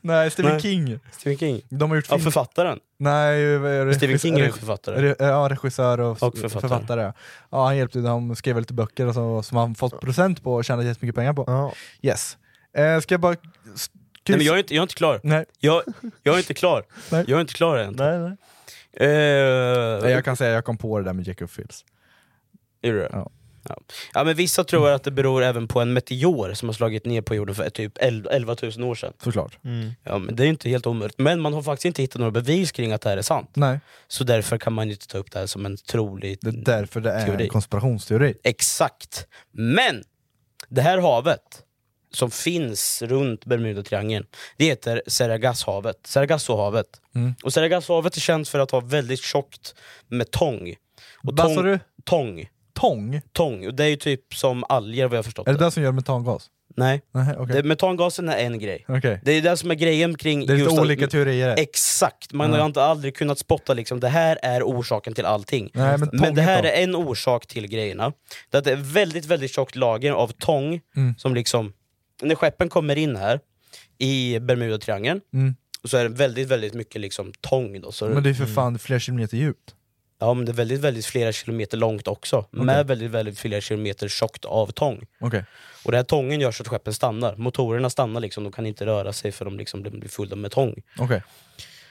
[SPEAKER 2] Nej, Stephen
[SPEAKER 1] Nej.
[SPEAKER 2] King.
[SPEAKER 1] Stephen King.
[SPEAKER 2] De har gjort
[SPEAKER 1] Ja,
[SPEAKER 2] film...
[SPEAKER 1] författaren.
[SPEAKER 2] Nej, vad är det?
[SPEAKER 1] Stephen King är ju
[SPEAKER 2] Reg-
[SPEAKER 1] författare.
[SPEAKER 2] re- Ja, regissör och,
[SPEAKER 1] Och författare.
[SPEAKER 2] författare. Ja, han hjälpte dem, skrev lite böcker och så, som han fått procent på och tjänat jättemycket pengar på.
[SPEAKER 3] Ja.
[SPEAKER 2] Yes. Eh, ska jag bara...
[SPEAKER 1] Nej, men jag, är inte, jag är inte klar.
[SPEAKER 2] Nej.
[SPEAKER 1] Jag, jag är inte klar.
[SPEAKER 2] Nej.
[SPEAKER 1] Jag är inte klar än.
[SPEAKER 3] Nej, nej.
[SPEAKER 1] Eh,
[SPEAKER 2] Nej, jag kan säga jag kom på det där med Jacob Fields.
[SPEAKER 1] Är du det?
[SPEAKER 2] Ja.
[SPEAKER 1] Ja. ja, men vissa tror att det beror även på en meteor som har slagit ner på jorden för typ 11 000 år sedan.
[SPEAKER 2] Såklart.
[SPEAKER 3] Mm.
[SPEAKER 1] Ja, men det är inte helt omöjligt. Men man har faktiskt inte hittat några bevis kring att det här är sant.
[SPEAKER 2] Nej.
[SPEAKER 1] Så därför kan man inte ta upp det här som en trolig
[SPEAKER 2] Det är därför det är
[SPEAKER 1] Teori.
[SPEAKER 2] en konspirationsteori.
[SPEAKER 1] Exakt. Men det här havet som finns runt Bermudatriangeln, det heter Sargassohavet. Sargassohavet.
[SPEAKER 2] Mm.
[SPEAKER 1] Och Sargassohavet är känt för att ha väldigt tjockt med tång. Och
[SPEAKER 2] Vad sa du?
[SPEAKER 1] Tång.
[SPEAKER 2] Tång?
[SPEAKER 1] Tång. Och det är ju typ som alger vad jag har förstått
[SPEAKER 2] Är det det som gör metangas?
[SPEAKER 1] Nej.
[SPEAKER 2] Nej, okej.
[SPEAKER 1] Det, metangasen är en grej.
[SPEAKER 2] Okej.
[SPEAKER 1] Det är det som är grejen kring...
[SPEAKER 2] Det är lite
[SPEAKER 1] just att-
[SPEAKER 2] olika teorier.
[SPEAKER 1] Exakt, man har
[SPEAKER 2] Mm.
[SPEAKER 1] inte aldrig kunnat spotta liksom, det här är orsaken till allting.
[SPEAKER 2] Nej, men tånget
[SPEAKER 1] det här
[SPEAKER 2] då?
[SPEAKER 1] är en orsak till grejerna. Det är ett väldigt, väldigt tjockt lager av tång
[SPEAKER 2] Mm.
[SPEAKER 1] som liksom, när skeppen kommer in här i Bermudatriangeln,
[SPEAKER 2] Mm.
[SPEAKER 1] så är det väldigt, väldigt mycket liksom, tång. Då, så
[SPEAKER 2] Men det är
[SPEAKER 3] Mm.
[SPEAKER 2] för fan flera kilometer djupt.
[SPEAKER 1] Ja, men det är väldigt, väldigt flera kilometer långt också, med väldigt, väldigt flera kilometer tjockt av tång.
[SPEAKER 2] Okej.
[SPEAKER 1] Och den här tången gör så att skeppen stannar. Motorerna stannar, liksom, de kan inte röra sig för de liksom blir fulla med tång.
[SPEAKER 2] Okej.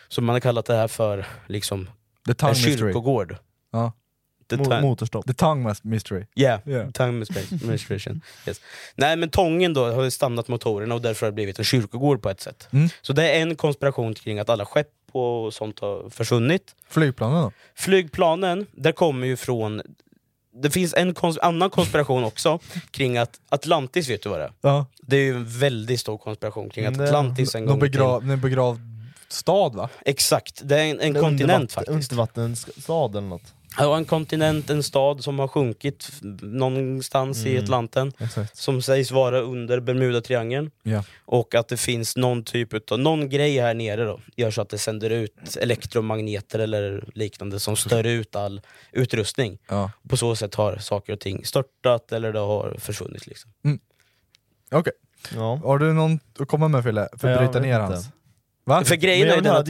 [SPEAKER 1] Så man har kallat det här för liksom,
[SPEAKER 2] The tongue
[SPEAKER 1] en
[SPEAKER 2] mystery.
[SPEAKER 1] kyrkogård.
[SPEAKER 2] Ja.
[SPEAKER 1] The Mo- tongue-
[SPEAKER 2] The tongue mas- mystery.
[SPEAKER 1] Yeah, tongue menstru- menstruation. Yes. Nej men tången då har ju stannat motorerna och därför har det blivit en kyrkogård på ett sätt.
[SPEAKER 2] Mm.
[SPEAKER 1] Så det är en konspiration kring att alla skepp och sånt har försvunnit.
[SPEAKER 2] Flygplanen då?
[SPEAKER 1] Flygplanen, där kommer ju från... Det finns en kons- annan konspiration också kring att Atlantis, vet du vad det är?
[SPEAKER 2] Ja.
[SPEAKER 1] Det är ju en väldigt stor konspiration kring att
[SPEAKER 2] Det-
[SPEAKER 1] Atlantis en
[SPEAKER 2] någon
[SPEAKER 1] gång i tiden-
[SPEAKER 2] begrav, en begravd stad va?
[SPEAKER 1] Exakt, det är en, en kontinent faktiskt.
[SPEAKER 3] Undervattensstad eller något.
[SPEAKER 1] Ja, en kontinent, en stad som har sjunkit f- någonstans i
[SPEAKER 3] Mm,
[SPEAKER 1] Atlanten.
[SPEAKER 3] exakt.
[SPEAKER 1] Som sägs vara under Bermudatriangeln.
[SPEAKER 2] Ja.
[SPEAKER 1] Och att det finns någon typ utav, någon grej här nere då, gör så att det sänder ut elektromagneter eller liknande som stör ut all utrustning.
[SPEAKER 2] Ja.
[SPEAKER 1] På så sätt har saker och ting störtat eller det har försvunnit. Liksom.
[SPEAKER 2] Okej. Har du någon att komma med Fille? För att
[SPEAKER 1] Ja, jag
[SPEAKER 2] bryta
[SPEAKER 1] vet
[SPEAKER 2] ner
[SPEAKER 1] inte.
[SPEAKER 2] hans? Va?
[SPEAKER 1] För grejen är ju den att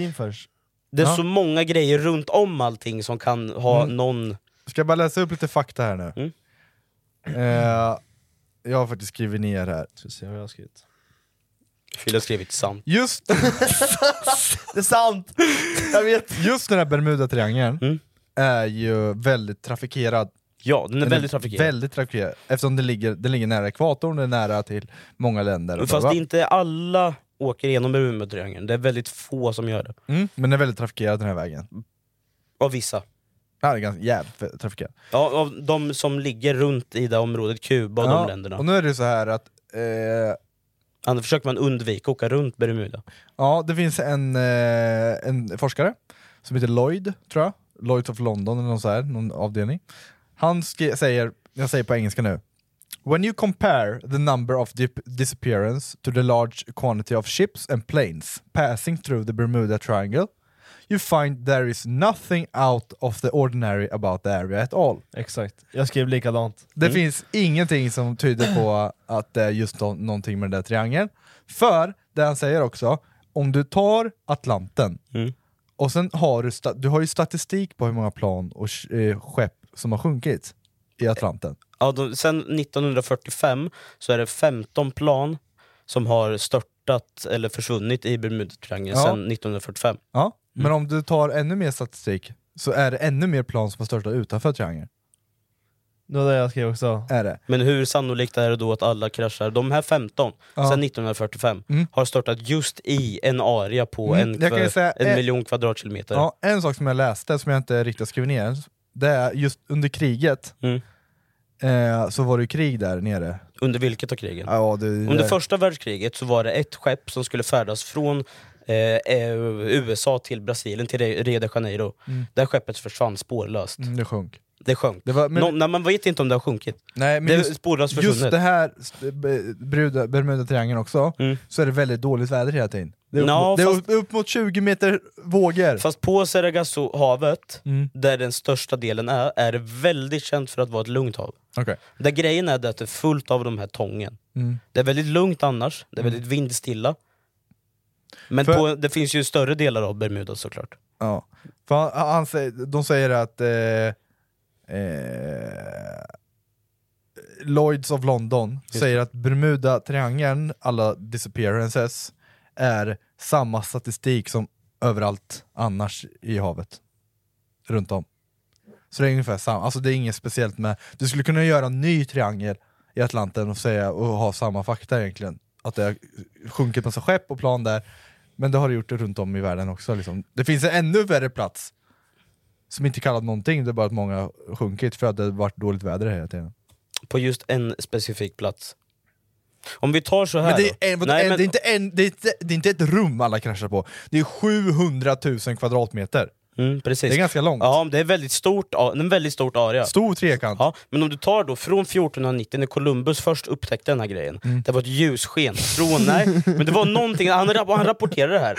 [SPEAKER 1] det är
[SPEAKER 2] Ja.
[SPEAKER 1] så många grejer runt om allting som kan ha
[SPEAKER 2] Mm.
[SPEAKER 1] någon...
[SPEAKER 2] Ska jag bara läsa upp lite fakta här nu?
[SPEAKER 1] Mm.
[SPEAKER 2] Eh, jag har faktiskt skrivit ner här.
[SPEAKER 3] se vad jag har skrivit.
[SPEAKER 1] Fille har skrivit sant.
[SPEAKER 2] Just...
[SPEAKER 3] det är sant! Jag vet.
[SPEAKER 2] Just den här Bermuda-triangeln
[SPEAKER 1] Mm.
[SPEAKER 2] är ju väldigt trafikerad.
[SPEAKER 1] Ja, den är väldigt trafikerad.
[SPEAKER 2] Väldigt trafikerad. Eftersom den ligger, den ligger nära ekvatorn, den är nära till många länder. och
[SPEAKER 1] Fast
[SPEAKER 2] bla,
[SPEAKER 1] det
[SPEAKER 2] bla.
[SPEAKER 1] är inte alla åker igenom Bermudatriangeln, det är väldigt få som gör det.
[SPEAKER 2] Mm, men den är väldigt trafikerad den här vägen.
[SPEAKER 1] Av vissa.
[SPEAKER 2] Ja, den är ganska jävligt trafikerad.
[SPEAKER 1] Ja, av de som ligger runt i det området, Kuba och
[SPEAKER 2] Ja,
[SPEAKER 1] de länderna.
[SPEAKER 2] Och nu är det så här att... Eh,
[SPEAKER 1] Annars försöker man undvika att åka runt Bermuda.
[SPEAKER 2] Ja, det finns en, eh, en forskare som heter Lloyd, tror jag. Lloyd of London eller någon, så här, någon avdelning. Han skri- säger, jag säger på engelska nu. When you compare the number of dip- disappearance to the large quantity of ships and planes passing through the Bermuda Triangle, you find there is nothing out of the ordinary about the area at all.
[SPEAKER 3] Exakt, jag skrev likadant.
[SPEAKER 2] Det finns ingenting som tyder på att det är just nå- någonting med den där triangeln. För, det han säger också, om du tar Atlanten
[SPEAKER 3] Mm.
[SPEAKER 2] och sen har du, sta- du har ju statistik på hur många plan och sh- eh, skepp som har sjunkit i Atlanten.
[SPEAKER 1] Ja, de, sen 1945 så är det 15 plan som har störtat eller försvunnit i Bermudatriangeln
[SPEAKER 2] Ja.
[SPEAKER 1] sen 1945.
[SPEAKER 2] Ja,
[SPEAKER 3] Mm.
[SPEAKER 2] men om du tar ännu mer statistik så är det ännu mer plan som har störtat utanför triangeln.
[SPEAKER 3] Det var det jag skrev också.
[SPEAKER 2] Är det?
[SPEAKER 1] Men hur sannolikt är det då att alla kraschar? De här 15,
[SPEAKER 2] Ja.
[SPEAKER 1] sen 1945, har startat just i en area på
[SPEAKER 2] Mm,
[SPEAKER 1] en,
[SPEAKER 2] jag kan ju
[SPEAKER 1] kva-
[SPEAKER 2] säga-
[SPEAKER 1] en
[SPEAKER 2] eh,
[SPEAKER 1] miljon kvadratkilometer.
[SPEAKER 2] Ja, en sak som jag läste, som jag inte riktigt har skrivit ner, det är just under kriget
[SPEAKER 1] Mm.
[SPEAKER 2] eh, så var det ju krig där nere.
[SPEAKER 1] Under vilket av krigen?
[SPEAKER 2] Ja, det,
[SPEAKER 1] Under första världskriget så var det ett skepp som skulle färdas från eh, eh, USA till Brasilien, till Re- Rio de Janeiro.
[SPEAKER 2] Mm.
[SPEAKER 1] Det här skeppet försvann spårlöst.
[SPEAKER 2] Mm, det sjönk.
[SPEAKER 1] Det sjönk.
[SPEAKER 2] Det var- men-
[SPEAKER 1] Nå- nej, man vet inte om det har sjunkit.
[SPEAKER 2] Nej, men
[SPEAKER 1] det är
[SPEAKER 2] just,
[SPEAKER 1] spårlöst
[SPEAKER 2] just
[SPEAKER 1] försvunnet.
[SPEAKER 2] det här st- be- Bermuda- Bermudatriangeln också, så är det väldigt dåligt väder hela tiden. Det är upp,
[SPEAKER 1] Nå,
[SPEAKER 2] mot, det är
[SPEAKER 1] Mm. fast-
[SPEAKER 2] upp, upp mot 20 meter vågor.
[SPEAKER 1] Fast på Sargassohavet,
[SPEAKER 2] Mm.
[SPEAKER 1] där den största delen är, är det väldigt känt för att vara ett lugnt hav.
[SPEAKER 2] Okej.
[SPEAKER 1] Där grejen är det att det är fullt av de här tången.
[SPEAKER 2] Mm.
[SPEAKER 1] Det är väldigt lugnt annars, det är
[SPEAKER 2] Mm.
[SPEAKER 1] väldigt vindstilla. Men
[SPEAKER 2] För-
[SPEAKER 1] på, det finns ju större delar av Bermuda såklart.
[SPEAKER 2] Ja. För han, han, säger- de säger att eh, eh, Lloyds of London säger att Bermuda-triangeln, alla disappearances, är samma statistik som överallt annars i havet. Runt om. Så det är ungefär samma, alltså det är inget speciellt med... Du skulle kunna göra en ny triangel i Atlanten och, säga, och ha samma fakta egentligen. Att det har sjunkit massa skepp och plan där, men det har det gjort runt om i världen också. Liksom. Det finns en ännu värre plats som inte kallat någonting, det är bara att många har sjunkit för att det har varit dåligt väder hela tiden.
[SPEAKER 1] På just en specifik plats. Om vi tar så här
[SPEAKER 2] Men det
[SPEAKER 1] då.
[SPEAKER 2] är, en, vadå,
[SPEAKER 1] Nej,
[SPEAKER 2] en,
[SPEAKER 1] men-
[SPEAKER 2] det, är inte en, det, är inte, det är inte ett rum alla kraschar på, det är 700 000 kvadratmeter.
[SPEAKER 1] Mm, precis.
[SPEAKER 2] Det är ganska långt.
[SPEAKER 1] Ja, det är väldigt stort, a- en väldigt stort area.
[SPEAKER 2] Stor trekant.
[SPEAKER 1] Ja, men om du tar då från 1490 när Columbus först upptäckte den här grejen,
[SPEAKER 2] Mm.
[SPEAKER 1] det var ett ljussken från, nej, men det var någonting, han, rapp- han rapporterade det här.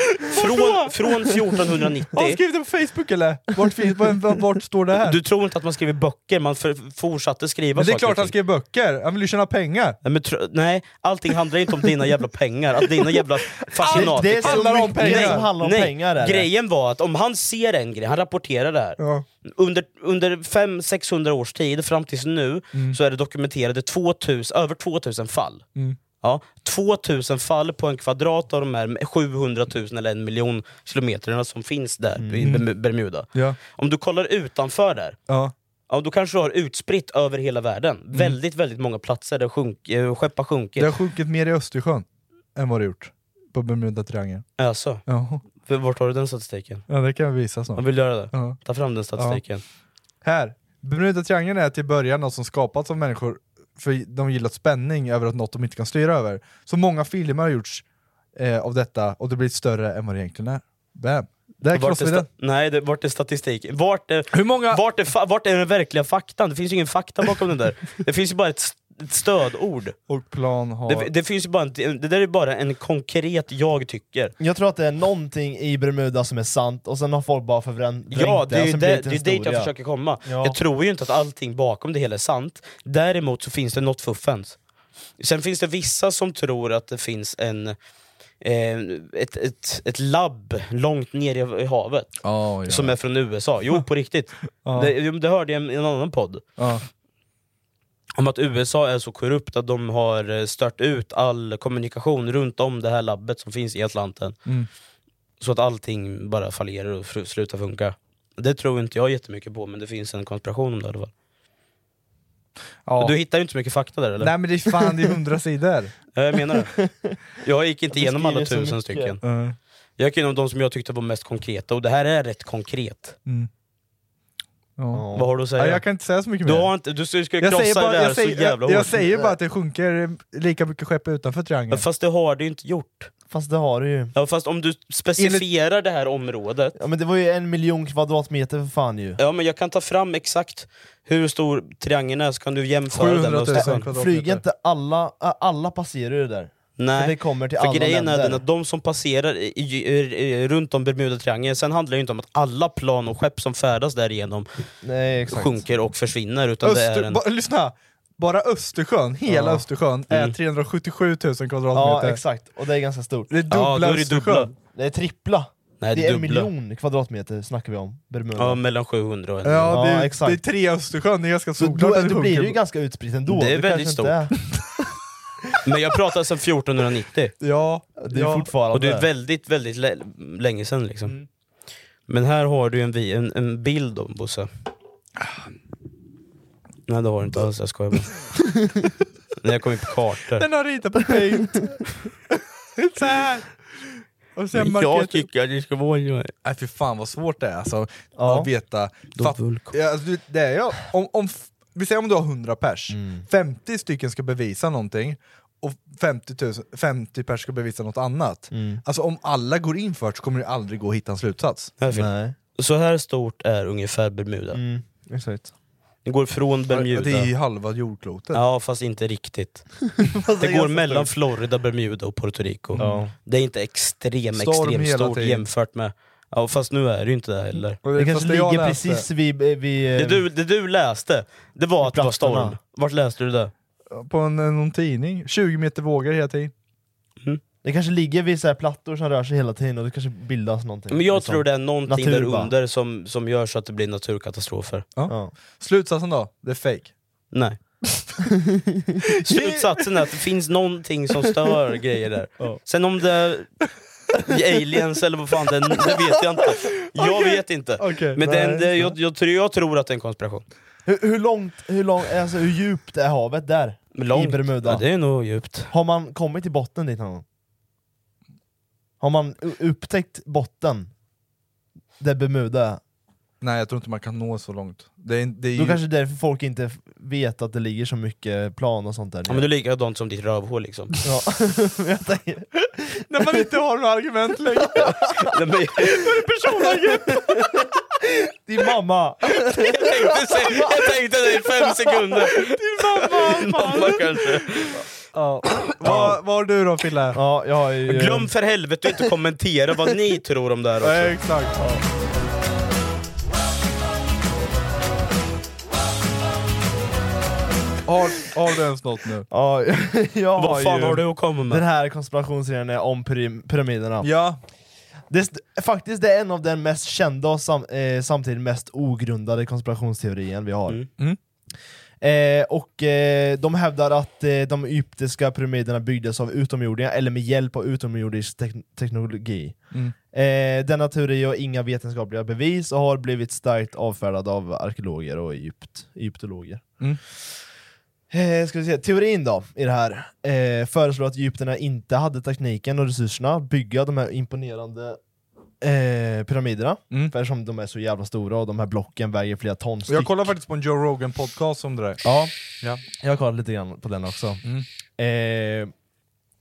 [SPEAKER 1] Från, från 1490.
[SPEAKER 2] Har du skrivit det på Facebook eller? Vart, fin- vart, vart står det här?
[SPEAKER 1] Du tror inte att man skriver böcker, man för, fortsatte skriva
[SPEAKER 2] Men det är
[SPEAKER 1] saker och
[SPEAKER 2] klart han
[SPEAKER 1] ting.
[SPEAKER 2] skrev böcker, han vill ju tjäna pengar!
[SPEAKER 1] Nej, men tro, nej, allting handlar inte om dina jävla pengar, att dina jävla fascinater...
[SPEAKER 2] Allt- det är så Handlar om mycket pengar. som handlar om
[SPEAKER 1] nej,
[SPEAKER 2] pengar, eller?
[SPEAKER 1] Grejen var att om han ser en grej, han rapporterar det här, under, under 500-600 års tid fram tills nu så är det dokumenterade 2000, över 2000 fall.
[SPEAKER 2] Mm.
[SPEAKER 1] Ja, 2000 fall på en kvadrat av de här 700 000 eller en miljon kilometerna som finns där
[SPEAKER 2] Mm.
[SPEAKER 1] i Bermu- Bermuda.
[SPEAKER 2] Ja.
[SPEAKER 1] Om du kollar utanför där,
[SPEAKER 2] Ja.
[SPEAKER 1] Ja, då kanske du har utspritt över hela världen. Väldigt, väldigt många platser där sjunk, eh, skepp har sjunkit.
[SPEAKER 2] Det har sjunkit mer i Östersjön än vad det gjort på Bermudatriangeln.
[SPEAKER 1] Alltså,
[SPEAKER 2] Ja.
[SPEAKER 1] För vart har du den statistiken?
[SPEAKER 2] ja, det kan vi visa
[SPEAKER 1] Jag
[SPEAKER 2] snart.
[SPEAKER 1] vill göra det.
[SPEAKER 2] Ja.
[SPEAKER 1] Ta fram den statistiken.
[SPEAKER 2] Här, Bermudatriangeln är till början något som skapats av människor för de gillar spänning över att något de inte kan styra över. Så många filmer har gjorts eh, av detta och det blir större än vad det egentligen är. Bam! Där
[SPEAKER 1] Vart
[SPEAKER 2] krossar
[SPEAKER 1] är
[SPEAKER 2] vi
[SPEAKER 1] sta-
[SPEAKER 2] den.
[SPEAKER 1] Nej, det, vart är statistik? Vart är, Hur många... vart, är fa- vart är den verkliga faktan? Det finns ju ingen fakta bakom den där. Det finns ju bara ett, s- ett stödord.
[SPEAKER 2] Och plan har...
[SPEAKER 1] Det, det, finns ju bara en, det där är bara en konkret jag tycker.
[SPEAKER 3] Jag tror att det är någonting i Bermuda som är sant, och sen har folk bara förvrän- vrängt
[SPEAKER 1] Ja, det är ju
[SPEAKER 3] sen blir till
[SPEAKER 1] det,
[SPEAKER 3] en
[SPEAKER 1] det, är dit jag
[SPEAKER 3] historia.
[SPEAKER 1] försöker komma.
[SPEAKER 3] Ja.
[SPEAKER 1] Jag tror ju inte att allting bakom det hela är sant. Däremot så finns det något fuffens. Sen finns det vissa som tror att det finns en, eh, ett, ett, ett labb långt ner i havet
[SPEAKER 2] Ja, ja.
[SPEAKER 1] som är från USA. Jo, på riktigt.
[SPEAKER 2] Ja.
[SPEAKER 1] Det, jo, det hörde jag i en annan podd.
[SPEAKER 2] Ja.
[SPEAKER 1] Om att USA är så korrupt att de har eh, stört ut all kommunikation runt om det här labbet som finns i Atlanten.
[SPEAKER 2] Mm.
[SPEAKER 1] Så att allting bara fallerar och fru- slutar funka. Det tror inte jag jättemycket på, men det finns en konspiration om det i alla fall.
[SPEAKER 2] Ja.
[SPEAKER 1] Du hittar ju inte så mycket fakta där eller?
[SPEAKER 2] Nej men det är fan, det är hundra sidor!
[SPEAKER 1] Ja, jag menar det. Jag gick inte
[SPEAKER 2] Jag
[SPEAKER 1] igenom alla
[SPEAKER 2] beskriver
[SPEAKER 1] tusen
[SPEAKER 2] så mycket.
[SPEAKER 1] stycken.
[SPEAKER 2] Mm.
[SPEAKER 1] Jag gick igenom de som jag tyckte var mest konkreta, och det här är rätt konkret.
[SPEAKER 2] Mm. Ja.
[SPEAKER 1] Vad har du att säga?
[SPEAKER 2] Ja, jag kan inte säga så mycket
[SPEAKER 1] du
[SPEAKER 2] mer.
[SPEAKER 1] Har inte, du skulle krossa
[SPEAKER 2] Jag säger, bara,
[SPEAKER 1] det där
[SPEAKER 2] jag, säger,
[SPEAKER 1] så jävla
[SPEAKER 2] jag,
[SPEAKER 1] hårt.
[SPEAKER 2] jag säger bara att det sjunker lika mycket skepp utanför triangeln.
[SPEAKER 1] Fast det har det ju inte gjort.
[SPEAKER 3] Fast det har du ju.
[SPEAKER 1] Ja, fast om du specificerar det här området.
[SPEAKER 3] Ja men det var ju en miljon kvadratmeter för fan ju.
[SPEAKER 1] Ja, men jag kan ta fram exakt hur stor triangeln är, så kan du jämföra den med Östersjön.
[SPEAKER 3] Flyger inte alla, äh, alla passerar ju det där?
[SPEAKER 1] Nej,
[SPEAKER 3] Så det kommer till
[SPEAKER 1] för
[SPEAKER 3] alla
[SPEAKER 1] grejen
[SPEAKER 3] länder.
[SPEAKER 1] är den att de som passerar i, i, i, runt om Bermudatriangeln, sen handlar det ju inte om att alla plan och skepp som färdas därigenom
[SPEAKER 3] Nej, exakt.
[SPEAKER 1] sjunker och försvinner, utan det är
[SPEAKER 2] Öster,
[SPEAKER 1] en...
[SPEAKER 2] ba, lyssna! Bara Östersjön, hela
[SPEAKER 3] Ja.
[SPEAKER 2] Östersjön, är
[SPEAKER 3] Mm.
[SPEAKER 2] 377 000 kvadratmeter.
[SPEAKER 3] Ja exakt, och det är ganska stort.
[SPEAKER 2] Det är dubbla Ja, då är det Östersjön. dubbla.
[SPEAKER 3] Det är trippla.
[SPEAKER 1] Nej,
[SPEAKER 3] det
[SPEAKER 1] det
[SPEAKER 3] är
[SPEAKER 1] är
[SPEAKER 3] en
[SPEAKER 1] dubbla.
[SPEAKER 3] miljon kvadratmeter snackar vi om, Bermuda.
[SPEAKER 1] Ja, mellan 700 och en
[SPEAKER 2] Ja, det,
[SPEAKER 3] Ja,
[SPEAKER 2] är,
[SPEAKER 3] exakt.
[SPEAKER 2] det är tre Östersjön, det är ganska
[SPEAKER 3] Så
[SPEAKER 2] solklart
[SPEAKER 3] då,
[SPEAKER 2] att det
[SPEAKER 3] då blir det ju
[SPEAKER 2] sjunker.
[SPEAKER 3] ganska utspritt ändå.
[SPEAKER 1] Det är väldigt
[SPEAKER 3] kanske inte
[SPEAKER 1] Men jag pratar sedan 1490.
[SPEAKER 2] Ja,
[SPEAKER 3] Det är ja. fortfarande. Mm.
[SPEAKER 1] Och det är väldigt, väldigt lä- länge sedan liksom. Men här har du en, vi- en, en bild om Bosse. Nej det har du inte alls, jag skojar bara. Nej jag kom in på kartor.
[SPEAKER 2] Den har ritat på paint. så här. Och sen
[SPEAKER 1] Men
[SPEAKER 2] markerat-
[SPEAKER 1] jag tycker att det ska vara...
[SPEAKER 2] Nej fy fan vad svårt det är alltså, att veta. Fatt, ja, alltså, du- det är jag. Om, om, f- vi säger om du har 100 pers,
[SPEAKER 3] Mm.
[SPEAKER 2] 50 stycken ska bevisa någonting och 50, 000, 50 pers ska bevisa något annat.
[SPEAKER 3] Mm.
[SPEAKER 2] Alltså om alla går in för det så kommer det aldrig gå att hitta en slutsats.
[SPEAKER 1] Här finns- Så här stort är ungefär Bermuda.
[SPEAKER 3] Exakt.
[SPEAKER 1] Det går från Bermuda.
[SPEAKER 2] Det är ju halva jordklotet. Alltså,
[SPEAKER 1] Ja fast inte riktigt.
[SPEAKER 2] det
[SPEAKER 1] det
[SPEAKER 2] är
[SPEAKER 1] går
[SPEAKER 2] ganska
[SPEAKER 1] mellan
[SPEAKER 2] stort.
[SPEAKER 1] Florida, Bermuda och Puerto Rico.
[SPEAKER 2] Ja.
[SPEAKER 1] Det är inte extrem,
[SPEAKER 3] Storm
[SPEAKER 1] extremt
[SPEAKER 3] hela
[SPEAKER 1] stort
[SPEAKER 3] tiden.
[SPEAKER 1] jämfört med... Ja fast nu är det ju inte det heller.
[SPEAKER 3] Det kanske ligger precis vid... vid
[SPEAKER 1] Det
[SPEAKER 3] eh,
[SPEAKER 1] du, det du läste, det var att det var
[SPEAKER 3] plattorna.
[SPEAKER 1] storm. Vart läste du det?
[SPEAKER 2] På en, någon tidning, 20 meter vågor hela tiden.
[SPEAKER 1] Mm.
[SPEAKER 3] Det kanske ligger vid så här plattor som rör sig hela tiden och det kanske bildas någonting.
[SPEAKER 1] Men jag
[SPEAKER 3] Liksom.
[SPEAKER 1] tror det är någonting
[SPEAKER 3] Natur,
[SPEAKER 1] där
[SPEAKER 3] va?
[SPEAKER 1] under som, som gör så att det blir naturkatastrofer.
[SPEAKER 2] Ja. Slutsatsen då? Det är fake.
[SPEAKER 1] Nej. Slutsatsen är att det finns någonting som stör grejer där. Sen om det... aliens eller vad fan, den, det vet jag inte. Jag vet inte.
[SPEAKER 3] Okej,
[SPEAKER 1] Men den,
[SPEAKER 3] nej.
[SPEAKER 1] det, jag, jag, tror- jag tror att det är en konspiration.
[SPEAKER 3] Hur, hur långt, hur långt, alltså hur djupt är havet där?
[SPEAKER 1] Långt.
[SPEAKER 3] I Bermuda?
[SPEAKER 1] Ja, det är nog djupt.
[SPEAKER 3] Har man kommit till botten dit någon gång? Har man u- upptäckt botten? Där Bermuda är?
[SPEAKER 2] Nej jag tror inte man kan nå så långt. Det är, det är
[SPEAKER 3] Då
[SPEAKER 2] ju...
[SPEAKER 3] kanske därför folk inte f- vet att det ligger så mycket plan och sånt där
[SPEAKER 1] Ja, men det är likadant som ditt rövhål liksom.
[SPEAKER 2] När man inte har några argument längre.
[SPEAKER 1] Nej, men-
[SPEAKER 3] Din mamma!
[SPEAKER 1] jag, tänkte, säga- jag tänkte det i fem sekunder. Din mamma kanske.
[SPEAKER 2] Vad vad har du då Fille?
[SPEAKER 3] Ja, jag har
[SPEAKER 1] Glöm för helvete att inte kommentera vad ni tror om det här också.
[SPEAKER 2] Nej, exakt. Har, har du ens något nu?
[SPEAKER 3] Ja, jag
[SPEAKER 2] Vad fan
[SPEAKER 3] ju
[SPEAKER 2] har du att komma med?
[SPEAKER 3] Den här konspirationsserien är om pyram- pyramiderna.
[SPEAKER 2] Ja.
[SPEAKER 3] Det är, st- faktiskt det är en av den mest kända och sam, eh, samtidigt mest ogrundade konspirationsteorien vi har.
[SPEAKER 2] Mm.
[SPEAKER 3] Eh, och eh, de hävdar att eh, de egyptiska pyramiderna byggdes av utomjordingar, eller med hjälp av utomjordisk tek- teknologi.
[SPEAKER 2] Mm.
[SPEAKER 3] Eh, denna teori har inga vetenskapliga bevis och har blivit starkt avfärdad av arkeologer och egypt, egyptologer.
[SPEAKER 2] Mm.
[SPEAKER 3] Eh, ska vi se. Teorin då, i det här, eh, föreslår att egyptierna inte hade tekniken och resurserna att bygga de här imponerande eh, pyramiderna, för eftersom de är så jävla stora och de här blocken väger flera ton styck.
[SPEAKER 2] Mm. Jag kollar faktiskt på en Joe Rogan podcast om det där.
[SPEAKER 3] Ja.
[SPEAKER 2] ja.
[SPEAKER 3] Jag har kollat lite grann på den också.
[SPEAKER 2] Mm.
[SPEAKER 3] Eh,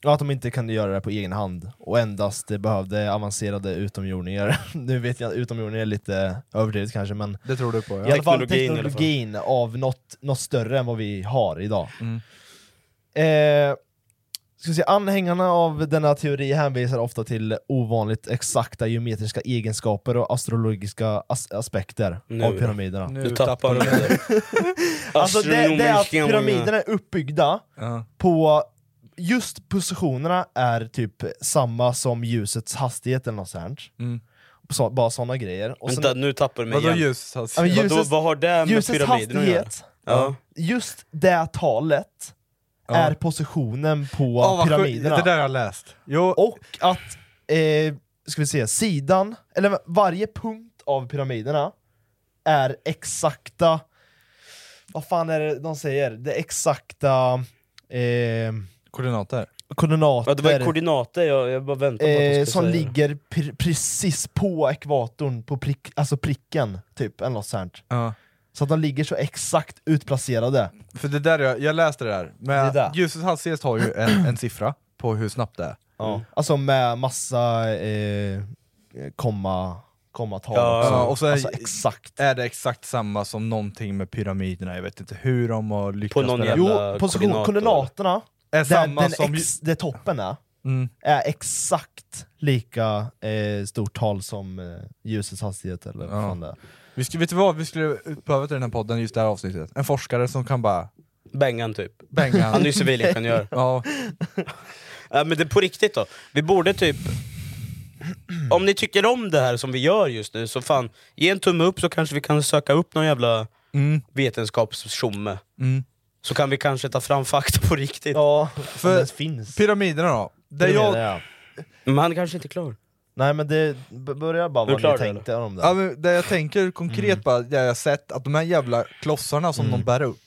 [SPEAKER 3] och att de inte kunde göra det på egen hand och endast eh, behövde avancerade utomjordingar. nu vet jag att utomjordingar är lite överdrivet kanske, men
[SPEAKER 2] Det tror du på ja.
[SPEAKER 3] i alla fall
[SPEAKER 2] Teknologin i alla fall.
[SPEAKER 3] teknologin av något, något större än vad vi har idag.
[SPEAKER 2] Mm.
[SPEAKER 3] Eh, ska vi se, anhängarna av denna teori hänvisar ofta till ovanligt exakta geometriska egenskaper och astrologiska as- aspekter
[SPEAKER 1] Nu
[SPEAKER 3] av
[SPEAKER 1] då.
[SPEAKER 3] pyramiderna.
[SPEAKER 1] Nu Nu tappar tappar du du det. det.
[SPEAKER 3] alltså det, det är att pyramiderna är uppbyggda
[SPEAKER 2] Ja.
[SPEAKER 3] på just positionerna är typ samma som ljusets hastighet eller något sånt.
[SPEAKER 2] Mm.
[SPEAKER 3] Så, bara sådana grejer. sen-
[SPEAKER 1] Vänta, nu tappar du mig igen.
[SPEAKER 3] Ja, men
[SPEAKER 1] Vadå,
[SPEAKER 3] ljusets-
[SPEAKER 1] vad har det med
[SPEAKER 3] ljusets
[SPEAKER 1] pyramiderna att göra?
[SPEAKER 3] hastighet,
[SPEAKER 1] Ja.
[SPEAKER 3] Just det talet
[SPEAKER 2] Ja.
[SPEAKER 3] är positionen på
[SPEAKER 2] Ja, vad sjukt.
[SPEAKER 3] pyramiderna.
[SPEAKER 2] Det där har jag läst.
[SPEAKER 3] Och att, eh, ska vi se, sidan, eller varje punkt av pyramiderna är exakta, vad fan är det de säger? Det exakta... Eh,
[SPEAKER 2] Koordinater?
[SPEAKER 3] Koordinater.
[SPEAKER 1] Ja, det var ju koordinater, jag, jag bara väntade på att du
[SPEAKER 3] Eh,
[SPEAKER 1] skulle
[SPEAKER 3] som
[SPEAKER 1] säga det.
[SPEAKER 3] ligger pr- precis på ekvatorn, på prick, alltså pricken, typ, eller något sånt. Så att de ligger så exakt utplacerade.
[SPEAKER 2] För det där, jag, jag läste det där, men
[SPEAKER 3] Det där.
[SPEAKER 2] ljusets hastighet har ju en, en siffra på hur snabbt det är.
[SPEAKER 3] Ja. Alltså med massa eh, komma, kommatal
[SPEAKER 2] Ja,
[SPEAKER 3] också.
[SPEAKER 2] ja, och så är,
[SPEAKER 3] alltså, exakt.
[SPEAKER 2] är det exakt samma som någonting med pyramiderna, jag vet inte hur de har lyckats
[SPEAKER 3] På någon
[SPEAKER 2] med det.
[SPEAKER 3] jävla Jo, position- koordinat, koordinaterna,
[SPEAKER 2] är samma
[SPEAKER 3] den,
[SPEAKER 2] som...
[SPEAKER 3] den ex, det toppen är,
[SPEAKER 2] Mm.
[SPEAKER 3] är exakt lika eh, stort tal som eh, ljusets hastighet eller vad fan det är.
[SPEAKER 2] Vi skulle, vet du vad vi skulle behöva till den här podden, just det här avsnittet? En forskare som kan bara...
[SPEAKER 1] Bengan typ.
[SPEAKER 2] Bengan.
[SPEAKER 1] Han är ju civilingenjör.
[SPEAKER 2] ja.
[SPEAKER 1] Ja, men det är på riktigt då. Vi borde typ... Om ni tycker om det här som vi gör just nu, så fan, ge en tumme upp så kanske vi kan söka upp någon jävla
[SPEAKER 2] Mm.
[SPEAKER 1] vetenskapstjomme.
[SPEAKER 2] Mm.
[SPEAKER 1] Så kan vi kanske ta fram fakta på riktigt.
[SPEAKER 3] Ja,
[SPEAKER 2] För pyramiderna då? Där
[SPEAKER 3] Pyramiderna,
[SPEAKER 2] jag,
[SPEAKER 3] ja.
[SPEAKER 1] Men han kanske inte är klar.
[SPEAKER 3] Nej men det b- börjar bara
[SPEAKER 2] Du är
[SPEAKER 3] vad
[SPEAKER 2] klar
[SPEAKER 3] ni
[SPEAKER 2] där,
[SPEAKER 3] tänkte om det.
[SPEAKER 2] Ja, men det jag tänker konkret
[SPEAKER 3] Mm.
[SPEAKER 2] bara, det jag har sett, att de här jävla klossarna som de bär upp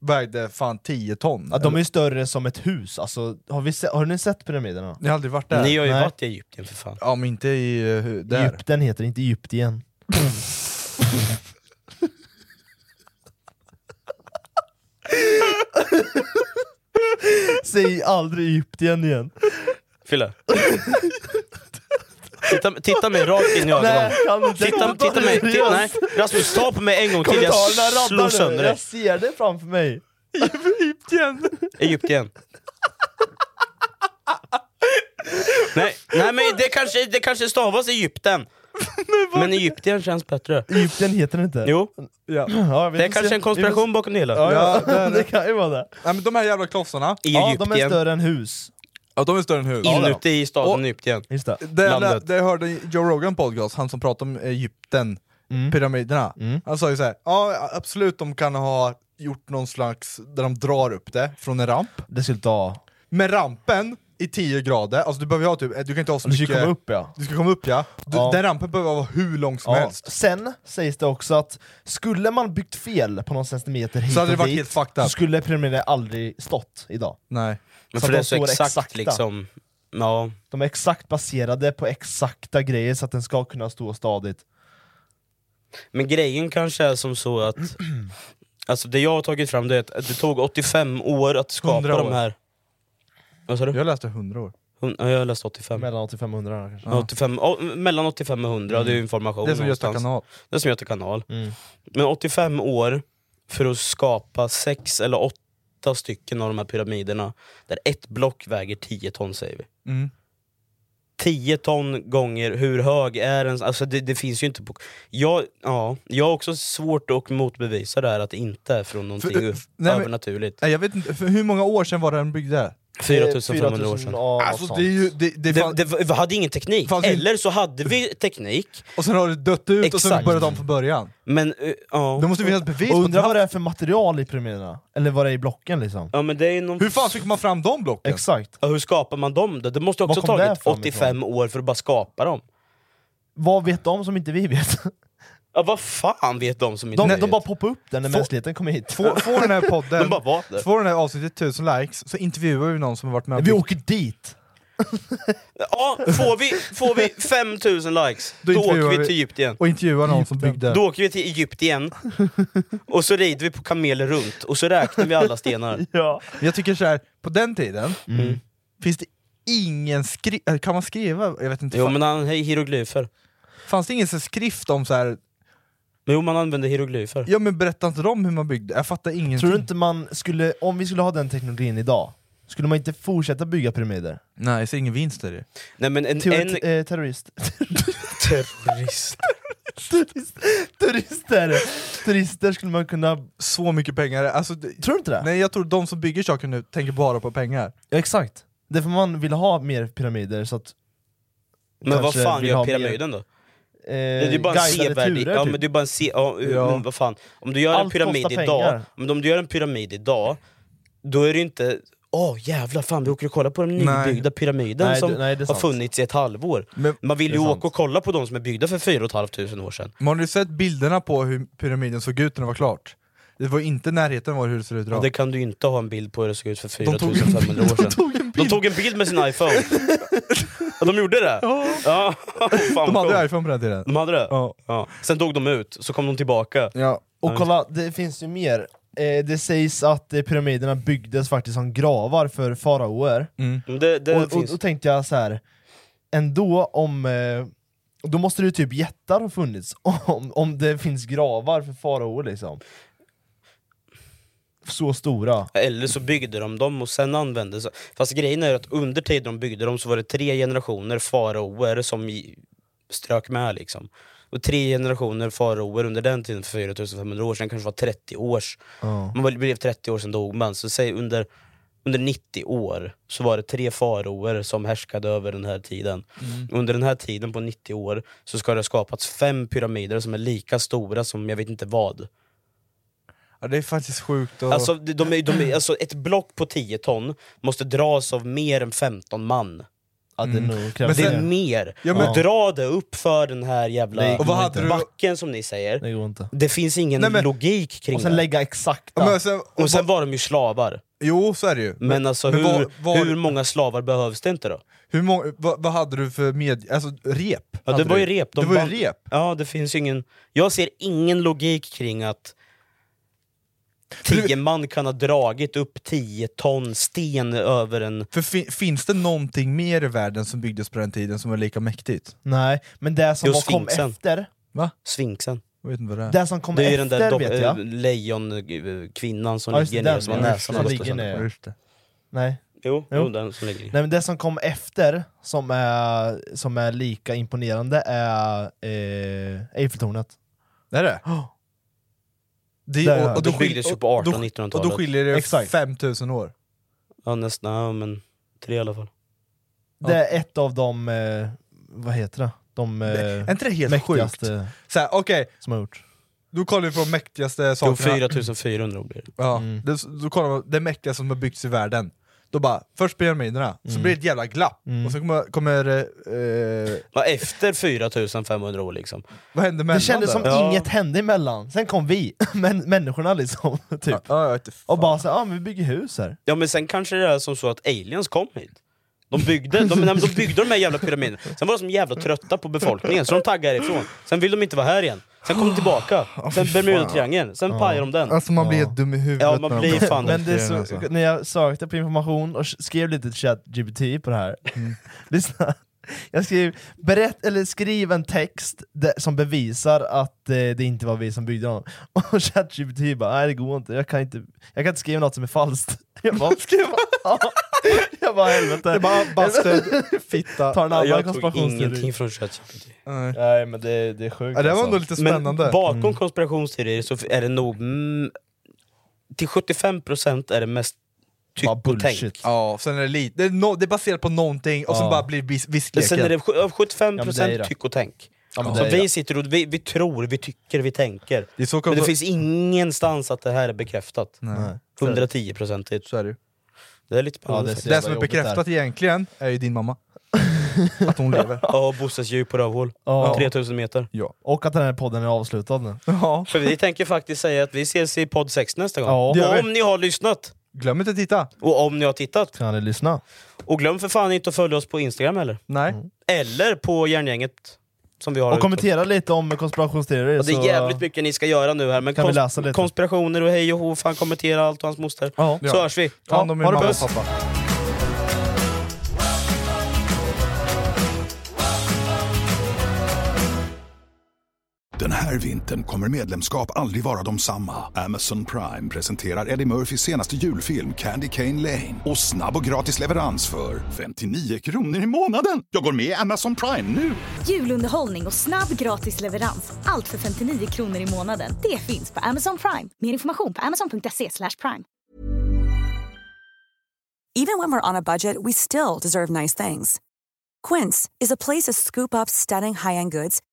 [SPEAKER 2] vägde fan 10 ton.
[SPEAKER 3] Ja, de är ju större som ett hus, alltså, har, vi se- har ni sett pyramiderna?
[SPEAKER 2] Ni har aldrig varit där. Ni har ju varit
[SPEAKER 1] i Egypten för fan.
[SPEAKER 2] Ja men inte i eh, hu- där.
[SPEAKER 3] Egypten heter inte Egyptien. Säg aldrig Egyptien igen.
[SPEAKER 1] Fille. titta, titta mig rakt in i ögonen.
[SPEAKER 3] Nej, kan du inte-
[SPEAKER 1] Titta, titta mig, titta, nej. Rasmus, ta på mig en gång till, jag
[SPEAKER 3] Kommentarerna
[SPEAKER 1] slår
[SPEAKER 3] rabblar nu,
[SPEAKER 1] sönder dig.
[SPEAKER 3] Jag ser det framför mig.
[SPEAKER 2] Egyptien.
[SPEAKER 1] Egyptien. nej, nej men det kanske, det kanske stavas Egypten. men Egypten känns bättre.
[SPEAKER 3] Egypten heter det inte.
[SPEAKER 1] Jo.
[SPEAKER 2] Ja.
[SPEAKER 3] Ja, vi
[SPEAKER 1] Det är
[SPEAKER 3] får
[SPEAKER 1] kanske
[SPEAKER 3] se.
[SPEAKER 1] en konspiration
[SPEAKER 3] Vi får se.
[SPEAKER 1] bakom det hela.
[SPEAKER 3] Ja, ja.
[SPEAKER 2] Ja, det är
[SPEAKER 3] det
[SPEAKER 2] det.
[SPEAKER 3] kan ju vara det.
[SPEAKER 2] Nej men de här jävla klossarna.
[SPEAKER 1] I
[SPEAKER 3] Ja, de är Egyptien. större än hus.
[SPEAKER 2] Ja de är större än hus.
[SPEAKER 1] Inuti i staden
[SPEAKER 2] Och-
[SPEAKER 1] Egypten.
[SPEAKER 3] Just det.
[SPEAKER 2] Det jag, lä-
[SPEAKER 1] Landet.
[SPEAKER 2] det jag hörde i Joe Rogan podcast, han som pratade om Egypten,
[SPEAKER 3] Mm.
[SPEAKER 2] pyramiderna. Han sa ju såhär, ja absolut de kan ha gjort någon slags, där de drar upp det från en ramp.
[SPEAKER 3] Det skulle ta...
[SPEAKER 2] Men rampen i 10 grader, alltså du behöver ju ha typ, du kan inte ha så
[SPEAKER 3] Du ska
[SPEAKER 2] mycket...
[SPEAKER 3] komma upp, ja.
[SPEAKER 2] Du ska komma upp ja. Du,
[SPEAKER 3] Ja.
[SPEAKER 2] Den rampen behöver vara hur lång som helst.
[SPEAKER 3] Sen sägs det också att skulle man byggt fel på någon centimeter hit
[SPEAKER 2] Så hade
[SPEAKER 3] och
[SPEAKER 2] det varit
[SPEAKER 3] dit,
[SPEAKER 2] helt fucked
[SPEAKER 3] så
[SPEAKER 2] up.
[SPEAKER 3] skulle prenumerera aldrig stått idag.
[SPEAKER 2] Nej.
[SPEAKER 1] Men
[SPEAKER 3] Så
[SPEAKER 1] för
[SPEAKER 3] de
[SPEAKER 1] det är så
[SPEAKER 3] står
[SPEAKER 1] exakt
[SPEAKER 3] exakta.
[SPEAKER 1] liksom, ja.
[SPEAKER 3] De är exakt baserade på exakta grejer så att den ska kunna stå stadigt.
[SPEAKER 1] Men grejen kanske är som så att, alltså det jag har tagit fram det är att det tog 85 år att skapa
[SPEAKER 2] 100 år.
[SPEAKER 1] de här... Vad sa du?
[SPEAKER 2] Jag läste 100 år.
[SPEAKER 1] Hun- ja, Jag har läst 85.
[SPEAKER 3] Mellan Mm. 85 och 100 kanske.
[SPEAKER 1] Ja. 85, ja, mellan 85 och 100, det är ju information
[SPEAKER 2] Det är som Göta
[SPEAKER 1] någonstans.
[SPEAKER 2] kanal.
[SPEAKER 1] Det är som Göta kanal.
[SPEAKER 2] Mm.
[SPEAKER 1] Men 85 år för att skapa sex eller åtta stycken av de här pyramiderna, där ett block väger 10 ton säger vi.
[SPEAKER 2] Mm.
[SPEAKER 1] 10 ton gånger hur hög är den? Alltså det, det finns ju inte på... Jag, ja, jag har också svårt att motbevisa det här att det inte är från någonting
[SPEAKER 2] För- eh,
[SPEAKER 1] ö-
[SPEAKER 2] nej, men-
[SPEAKER 1] övernaturligt.
[SPEAKER 2] Nej, jag vet inte, för hur många år sedan var det den byggde?
[SPEAKER 1] 4500 år sedan.
[SPEAKER 2] Alltså, det är ju, det, det,
[SPEAKER 1] Det,
[SPEAKER 2] fan-
[SPEAKER 1] det, vi hade ingen teknik,
[SPEAKER 2] Fanns ju-
[SPEAKER 1] eller så hade vi teknik,
[SPEAKER 2] Och sen har det dött ut och sen
[SPEAKER 1] Exakt.
[SPEAKER 2] börjat om från början.
[SPEAKER 1] men eh, ja...
[SPEAKER 2] Då måste vi ha ett bevis
[SPEAKER 3] Och
[SPEAKER 2] på att
[SPEAKER 3] undrar
[SPEAKER 2] den
[SPEAKER 3] vad det är för material i pyramiderna? Eller vad det är i blocken liksom?
[SPEAKER 1] Ja, men det är ju någon...
[SPEAKER 2] Hur fan fick man fram de blocken?
[SPEAKER 3] Exakt.
[SPEAKER 1] Ja, Hur skapar man dem då? Det måste också
[SPEAKER 3] Var kom
[SPEAKER 1] ha tagit
[SPEAKER 3] det fram
[SPEAKER 1] 85 år för att bara skapa dem.
[SPEAKER 3] Vad vet de som inte vi vet?
[SPEAKER 1] Ja, vad fan vet de som inte
[SPEAKER 3] De,
[SPEAKER 1] vet?
[SPEAKER 3] de bara poppar upp den när
[SPEAKER 2] Få-
[SPEAKER 3] mänskligheten kommer hit.
[SPEAKER 2] Får, får den här podden,
[SPEAKER 1] De bara, vad?
[SPEAKER 2] får den här avsnittet 1000 likes, så intervjuar vi någon som har varit med och
[SPEAKER 3] Vi
[SPEAKER 2] byggt-
[SPEAKER 3] åker dit!
[SPEAKER 1] Ja, får vi, får vi 5000 likes, då, åker
[SPEAKER 2] intervjuar
[SPEAKER 1] vi till Egypten.
[SPEAKER 2] Och intervjuar någon som byggde.
[SPEAKER 1] Då åker vi till Egypten, och så rider vi på kameler runt, och så räknar vi alla stenar.
[SPEAKER 3] Ja. Mm.
[SPEAKER 2] Men Jag tycker så här, på den tiden
[SPEAKER 1] Mm.
[SPEAKER 2] finns det ingen skrift, kan man skriva? Jag vet inte,
[SPEAKER 1] Jo
[SPEAKER 2] fan-
[SPEAKER 1] men han är hieroglyfer.
[SPEAKER 2] fanns det ingen så här skrift om så här?
[SPEAKER 1] Men Jo man använder hieroglyfer.
[SPEAKER 2] ja men berätta inte om hur man byggde, jag fattar ingenting.
[SPEAKER 3] Tror du inte man skulle, om vi skulle ha den teknologin idag, skulle man inte fortsätta bygga pyramider?
[SPEAKER 2] Nej, jag ser ingen vinst i det.
[SPEAKER 1] Nej men en...
[SPEAKER 3] Teori-
[SPEAKER 1] en
[SPEAKER 3] eh, terrorist.
[SPEAKER 1] terrorist.
[SPEAKER 3] Turist, turister! Turister skulle man kunna...
[SPEAKER 2] Så mycket pengar, alltså, det,
[SPEAKER 3] Tror du inte det?
[SPEAKER 2] nej jag tror de som bygger saker nu tänker bara på pengar.
[SPEAKER 3] Ja, exakt. Därför man vill ha mer pyramider så att...
[SPEAKER 1] Men vad
[SPEAKER 3] kanske
[SPEAKER 1] fan
[SPEAKER 3] vill
[SPEAKER 1] gör
[SPEAKER 3] ha mer,
[SPEAKER 1] pyramiden då?
[SPEAKER 3] Eh,
[SPEAKER 1] Det är ju bara en
[SPEAKER 3] guidade
[SPEAKER 1] sevärdig...
[SPEAKER 3] turer,
[SPEAKER 1] Ja
[SPEAKER 3] typ.
[SPEAKER 1] men det är bara en se... Ja,
[SPEAKER 2] Ja.
[SPEAKER 1] men vad fan. Om du gör en
[SPEAKER 3] Allt
[SPEAKER 1] pyramid
[SPEAKER 3] kostar
[SPEAKER 1] idag,
[SPEAKER 3] pengar.
[SPEAKER 1] men om du gör en pyramid idag, då är det ju inte Åh jävlar, fan vi åker och kollar på den
[SPEAKER 2] Nej.
[SPEAKER 1] nybyggda pyramiden
[SPEAKER 3] Nej,
[SPEAKER 1] som
[SPEAKER 3] det- nej, det är
[SPEAKER 1] har
[SPEAKER 3] sant.
[SPEAKER 1] funnits i ett halvår.
[SPEAKER 2] Men-
[SPEAKER 1] Man vill
[SPEAKER 3] det
[SPEAKER 1] ju
[SPEAKER 3] är
[SPEAKER 1] åka
[SPEAKER 3] sant.
[SPEAKER 1] och kolla på de som är byggda för 4500 år sedan.
[SPEAKER 2] Men har ni sett bilderna på hur pyramiden såg ut när det var klart? Det var inte i närheten av hur det ser ut
[SPEAKER 1] Och
[SPEAKER 2] idag.
[SPEAKER 1] det kan du ju inte ha en bild på hur det såg ut för
[SPEAKER 2] De tog en
[SPEAKER 1] 4500 år sedan. De tog en bild med sin iPhone. ja, de gjorde det? Ja. fan,
[SPEAKER 2] De hade
[SPEAKER 1] coolt.
[SPEAKER 2] ju iPhone på den tiden.
[SPEAKER 1] de hade det?
[SPEAKER 2] Ja.
[SPEAKER 1] Ja. Sen dog de ut, så kom de tillbaka.
[SPEAKER 2] Ja.
[SPEAKER 3] Och kolla, det finns ju mer. Eh, det sägs att eh, pyramiderna byggdes faktiskt som gravar för faraoer.
[SPEAKER 2] Mm.
[SPEAKER 1] Men Det, det
[SPEAKER 3] Och, och
[SPEAKER 1] finns...
[SPEAKER 3] då tänkte jag så här. ändå om... Eh, då måste det ju typ jättar ha funnits, om, om det finns gravar för faraoer liksom. Så stora.
[SPEAKER 1] Eller så byggde de dem och sen använde sig. Fast grejen är att under tiden de byggde dem så var det tre generationer faraoer som i- strök med liksom. Och tre generationer faraoer under den tiden, för 4500 år sedan, kanske var 30 års. Man var- blev 30 år sedan dog man, så säg under, under 90 år så var det tre faraoer som härskade över den här tiden. Under den här tiden på 90 år så ska det ha skapats fem pyramider som är lika stora som jag vet inte vad.
[SPEAKER 2] Ja, det är faktiskt sjukt. Och...
[SPEAKER 1] Alltså, de de är, de är, alltså ett block på 10 ton måste dras av mer än 15 man.
[SPEAKER 3] Ja, det nog
[SPEAKER 2] Men
[SPEAKER 3] krävs
[SPEAKER 1] Det är
[SPEAKER 2] sen-
[SPEAKER 3] mer.
[SPEAKER 1] mer.
[SPEAKER 2] Ja, men-
[SPEAKER 1] Dra det upp för den här jävla
[SPEAKER 3] Nej,
[SPEAKER 2] och vad hade du...
[SPEAKER 1] backen som ni säger.
[SPEAKER 3] Det går inte.
[SPEAKER 1] Det finns ingen
[SPEAKER 2] Nej, men-
[SPEAKER 1] logik kring
[SPEAKER 3] Och sen
[SPEAKER 1] det.
[SPEAKER 3] lägga exakta.
[SPEAKER 2] Ja, men sen,
[SPEAKER 1] Och sen var de ju slavar.
[SPEAKER 2] Jo, så är det ju.
[SPEAKER 1] Men alltså hur,
[SPEAKER 2] vad- vad-
[SPEAKER 1] hur många slavar behövs det inte då?
[SPEAKER 2] Hur många, vad, vad hade du för med... Alltså rep?
[SPEAKER 1] Ja, det
[SPEAKER 2] hade
[SPEAKER 1] var
[SPEAKER 2] du.
[SPEAKER 1] ju rep. De
[SPEAKER 2] det var
[SPEAKER 1] band-
[SPEAKER 2] ju rep.
[SPEAKER 1] Ja, det finns ju ingen... Jag ser ingen logik kring att
[SPEAKER 2] du-
[SPEAKER 1] 10 man kan ha dragit upp 10 ton sten över en...
[SPEAKER 2] För fi, finns det någonting mer i världen som byggdes på den tiden som var lika mäktigt?
[SPEAKER 3] Nej, men det som
[SPEAKER 1] Jo,
[SPEAKER 3] var- kom
[SPEAKER 1] sfinxen.
[SPEAKER 3] efter,
[SPEAKER 1] Sfinxen.
[SPEAKER 2] Jag vet inte vad det är.
[SPEAKER 3] det som kom
[SPEAKER 1] Det är ju
[SPEAKER 3] efter
[SPEAKER 1] den där dom-
[SPEAKER 3] vet jag.
[SPEAKER 1] eh, lejonkvinnan som
[SPEAKER 3] Ja, just
[SPEAKER 1] ligger
[SPEAKER 3] det,
[SPEAKER 1] ner, som har
[SPEAKER 3] den, ja.
[SPEAKER 1] näsan
[SPEAKER 3] Som
[SPEAKER 1] har gått
[SPEAKER 3] ligger
[SPEAKER 1] sönder.
[SPEAKER 3] ner.
[SPEAKER 2] Ja, just det.
[SPEAKER 3] Nej.
[SPEAKER 1] Jo,
[SPEAKER 3] Jo.
[SPEAKER 1] jo, den som ligger ner.
[SPEAKER 3] Nej men det som kom efter, som är, som är lika imponerande, är eh, Eiffeltornet.
[SPEAKER 2] Det är det? Det,
[SPEAKER 3] Där,
[SPEAKER 2] och, och då
[SPEAKER 3] det
[SPEAKER 2] skil-
[SPEAKER 1] byggdes ju
[SPEAKER 2] och-
[SPEAKER 1] på
[SPEAKER 2] och då-
[SPEAKER 1] 1800-1900-talet.
[SPEAKER 2] Och då skiljer det
[SPEAKER 3] Exakt.
[SPEAKER 2] 5000 år.
[SPEAKER 1] Ja, nästan, ja, men tre i alla fall.
[SPEAKER 3] Det är ett av de, eh, vad heter det? De eh,
[SPEAKER 2] Är inte det helt sjukt?
[SPEAKER 3] mäktigaste
[SPEAKER 2] Så här, Okej,
[SPEAKER 3] som har gjorts.
[SPEAKER 2] då kollar vi på de mäktigaste
[SPEAKER 1] Jo,
[SPEAKER 2] sakerna.
[SPEAKER 1] 4400 blir det.
[SPEAKER 2] Ja, det, då kollar man, det mäktigaste som har byggts i världen.
[SPEAKER 10] Då bara, först pyramiderna, så
[SPEAKER 1] Mm.
[SPEAKER 10] blir det ett jävla glapp,
[SPEAKER 1] Mm.
[SPEAKER 10] och sen kommer... kommer eh,
[SPEAKER 1] Va, efter 4500 år liksom.
[SPEAKER 10] vad hände mellan
[SPEAKER 2] Det kändes som
[SPEAKER 1] Ja.
[SPEAKER 2] inget hände emellan, sen kom vi, men människorna liksom, typ. och bara såhär, ja men vi bygger hus här.
[SPEAKER 1] Ja men sen kanske det är som så att aliens kom hit. De byggde de, nej, men de, byggde de här jävla pyramiderna, sen var de som jävla trötta på befolkningen så de taggade ifrån. Sen vill de inte vara här igen. Sen kom de tillbaka, sen
[SPEAKER 10] fy fan.
[SPEAKER 1] Bermudatriangeln, sen
[SPEAKER 10] Ja.
[SPEAKER 1] pajade de den.
[SPEAKER 10] Alltså man blir helt dum i huvudet
[SPEAKER 1] Ja, man
[SPEAKER 10] när de
[SPEAKER 1] blir
[SPEAKER 10] pratar
[SPEAKER 1] fan
[SPEAKER 10] om
[SPEAKER 2] Men det är
[SPEAKER 10] grejerna,
[SPEAKER 2] så,
[SPEAKER 10] alltså.
[SPEAKER 2] när jag sökte på information och skrev lite till ChatGPT på det här,
[SPEAKER 10] Mm.
[SPEAKER 2] lyssna. Jag skrev, berätt, eller skriv en text där, som bevisar att eh, det inte var vi som byggde dem. Och ChatGPT bara, nej det går inte, jag kan inte, jag kan inte skriva något som är falskt. Jag bara, ja. jag bara helvete.
[SPEAKER 10] Det bara, bastard, fitta.
[SPEAKER 2] Ta en annan
[SPEAKER 1] jag tog
[SPEAKER 2] konspirationsteori.
[SPEAKER 1] ingenting från ChatGPT.
[SPEAKER 10] Nej.
[SPEAKER 2] Nej men det, det är sjukt
[SPEAKER 10] Ja, det var
[SPEAKER 2] alltså.
[SPEAKER 10] ändå lite spännande.
[SPEAKER 1] Men bakom
[SPEAKER 10] Mm.
[SPEAKER 1] konspirationsteorier så är det nog... Mm, till 75% är det mest tyckotänk.
[SPEAKER 10] Ja, sen är det lite, det är, no, det är baserat på någonting och sen
[SPEAKER 1] Ja.
[SPEAKER 10] bara blir vis-
[SPEAKER 1] Men
[SPEAKER 10] viskleken.
[SPEAKER 1] sen är det sju- av
[SPEAKER 10] Ja,
[SPEAKER 1] 75%
[SPEAKER 10] men det är det.
[SPEAKER 1] tyck och tänk.
[SPEAKER 10] Ja, men
[SPEAKER 1] så
[SPEAKER 10] det är
[SPEAKER 1] vi
[SPEAKER 10] det.
[SPEAKER 1] sitter och vi, vi tror, vi tycker, vi tänker.
[SPEAKER 10] Det är så
[SPEAKER 1] men det
[SPEAKER 10] kontra-
[SPEAKER 1] finns ingenstans att det här är bekräftat.
[SPEAKER 10] Nej.
[SPEAKER 1] 110%
[SPEAKER 10] Så är det
[SPEAKER 1] Det är lite
[SPEAKER 10] Ja,
[SPEAKER 1] spännande.
[SPEAKER 10] det,
[SPEAKER 1] faktiskt.
[SPEAKER 10] det som är bekräftat egentligen är ju din mamma. Att hon lever.
[SPEAKER 1] Ja, Bosses djup på rövhål.
[SPEAKER 2] Ja.
[SPEAKER 1] 3000 meter.
[SPEAKER 10] Ja.
[SPEAKER 2] Och att den här podden är avslutad nu.
[SPEAKER 1] För vi tänker faktiskt säga att vi ses i podd 6 nästa gång.
[SPEAKER 2] Ja. Det gör
[SPEAKER 1] och
[SPEAKER 2] vi.
[SPEAKER 1] om ni har lyssnat.
[SPEAKER 10] Glöm inte att titta.
[SPEAKER 1] Och om ni har tittat.
[SPEAKER 2] Kan ni lyssna?
[SPEAKER 1] Och glöm för fan inte att följa oss på Instagram heller.
[SPEAKER 10] Nej.
[SPEAKER 1] Eller på järngänget. Som vi har
[SPEAKER 2] Mm. Och
[SPEAKER 1] ute.
[SPEAKER 2] kommentera lite om konspirationsteorier.
[SPEAKER 1] Ja, det
[SPEAKER 2] så-
[SPEAKER 1] är jävligt mycket ni ska göra nu här, men
[SPEAKER 2] Kan vi
[SPEAKER 1] kons-
[SPEAKER 2] läsa lite?
[SPEAKER 1] konspirationer och hej och hå, fan kommentera allt och hans moster.
[SPEAKER 2] Ja.
[SPEAKER 1] Så hörs vi!
[SPEAKER 10] Ta hand om er
[SPEAKER 1] ha det
[SPEAKER 10] mamma och
[SPEAKER 1] bäst.
[SPEAKER 10] pappa.
[SPEAKER 5] Den här vintern kommer medlemskap aldrig vara de samma. Amazon Prime presenterar Eddie Murphys senaste julfilm Candy Cane Lane. Och snabb och gratis leverans för 59 kronor i månaden. Jag går med i Amazon Prime nu!
[SPEAKER 11] Julunderhållning och snabb gratis leverans. Allt för 59 kronor i månaden. Det finns på Amazon Prime. Mer information på amazon.se slash prime.
[SPEAKER 6] Even when we're on a budget, we still deserve nice things. Quince is a place to scoop up stunning high-end goods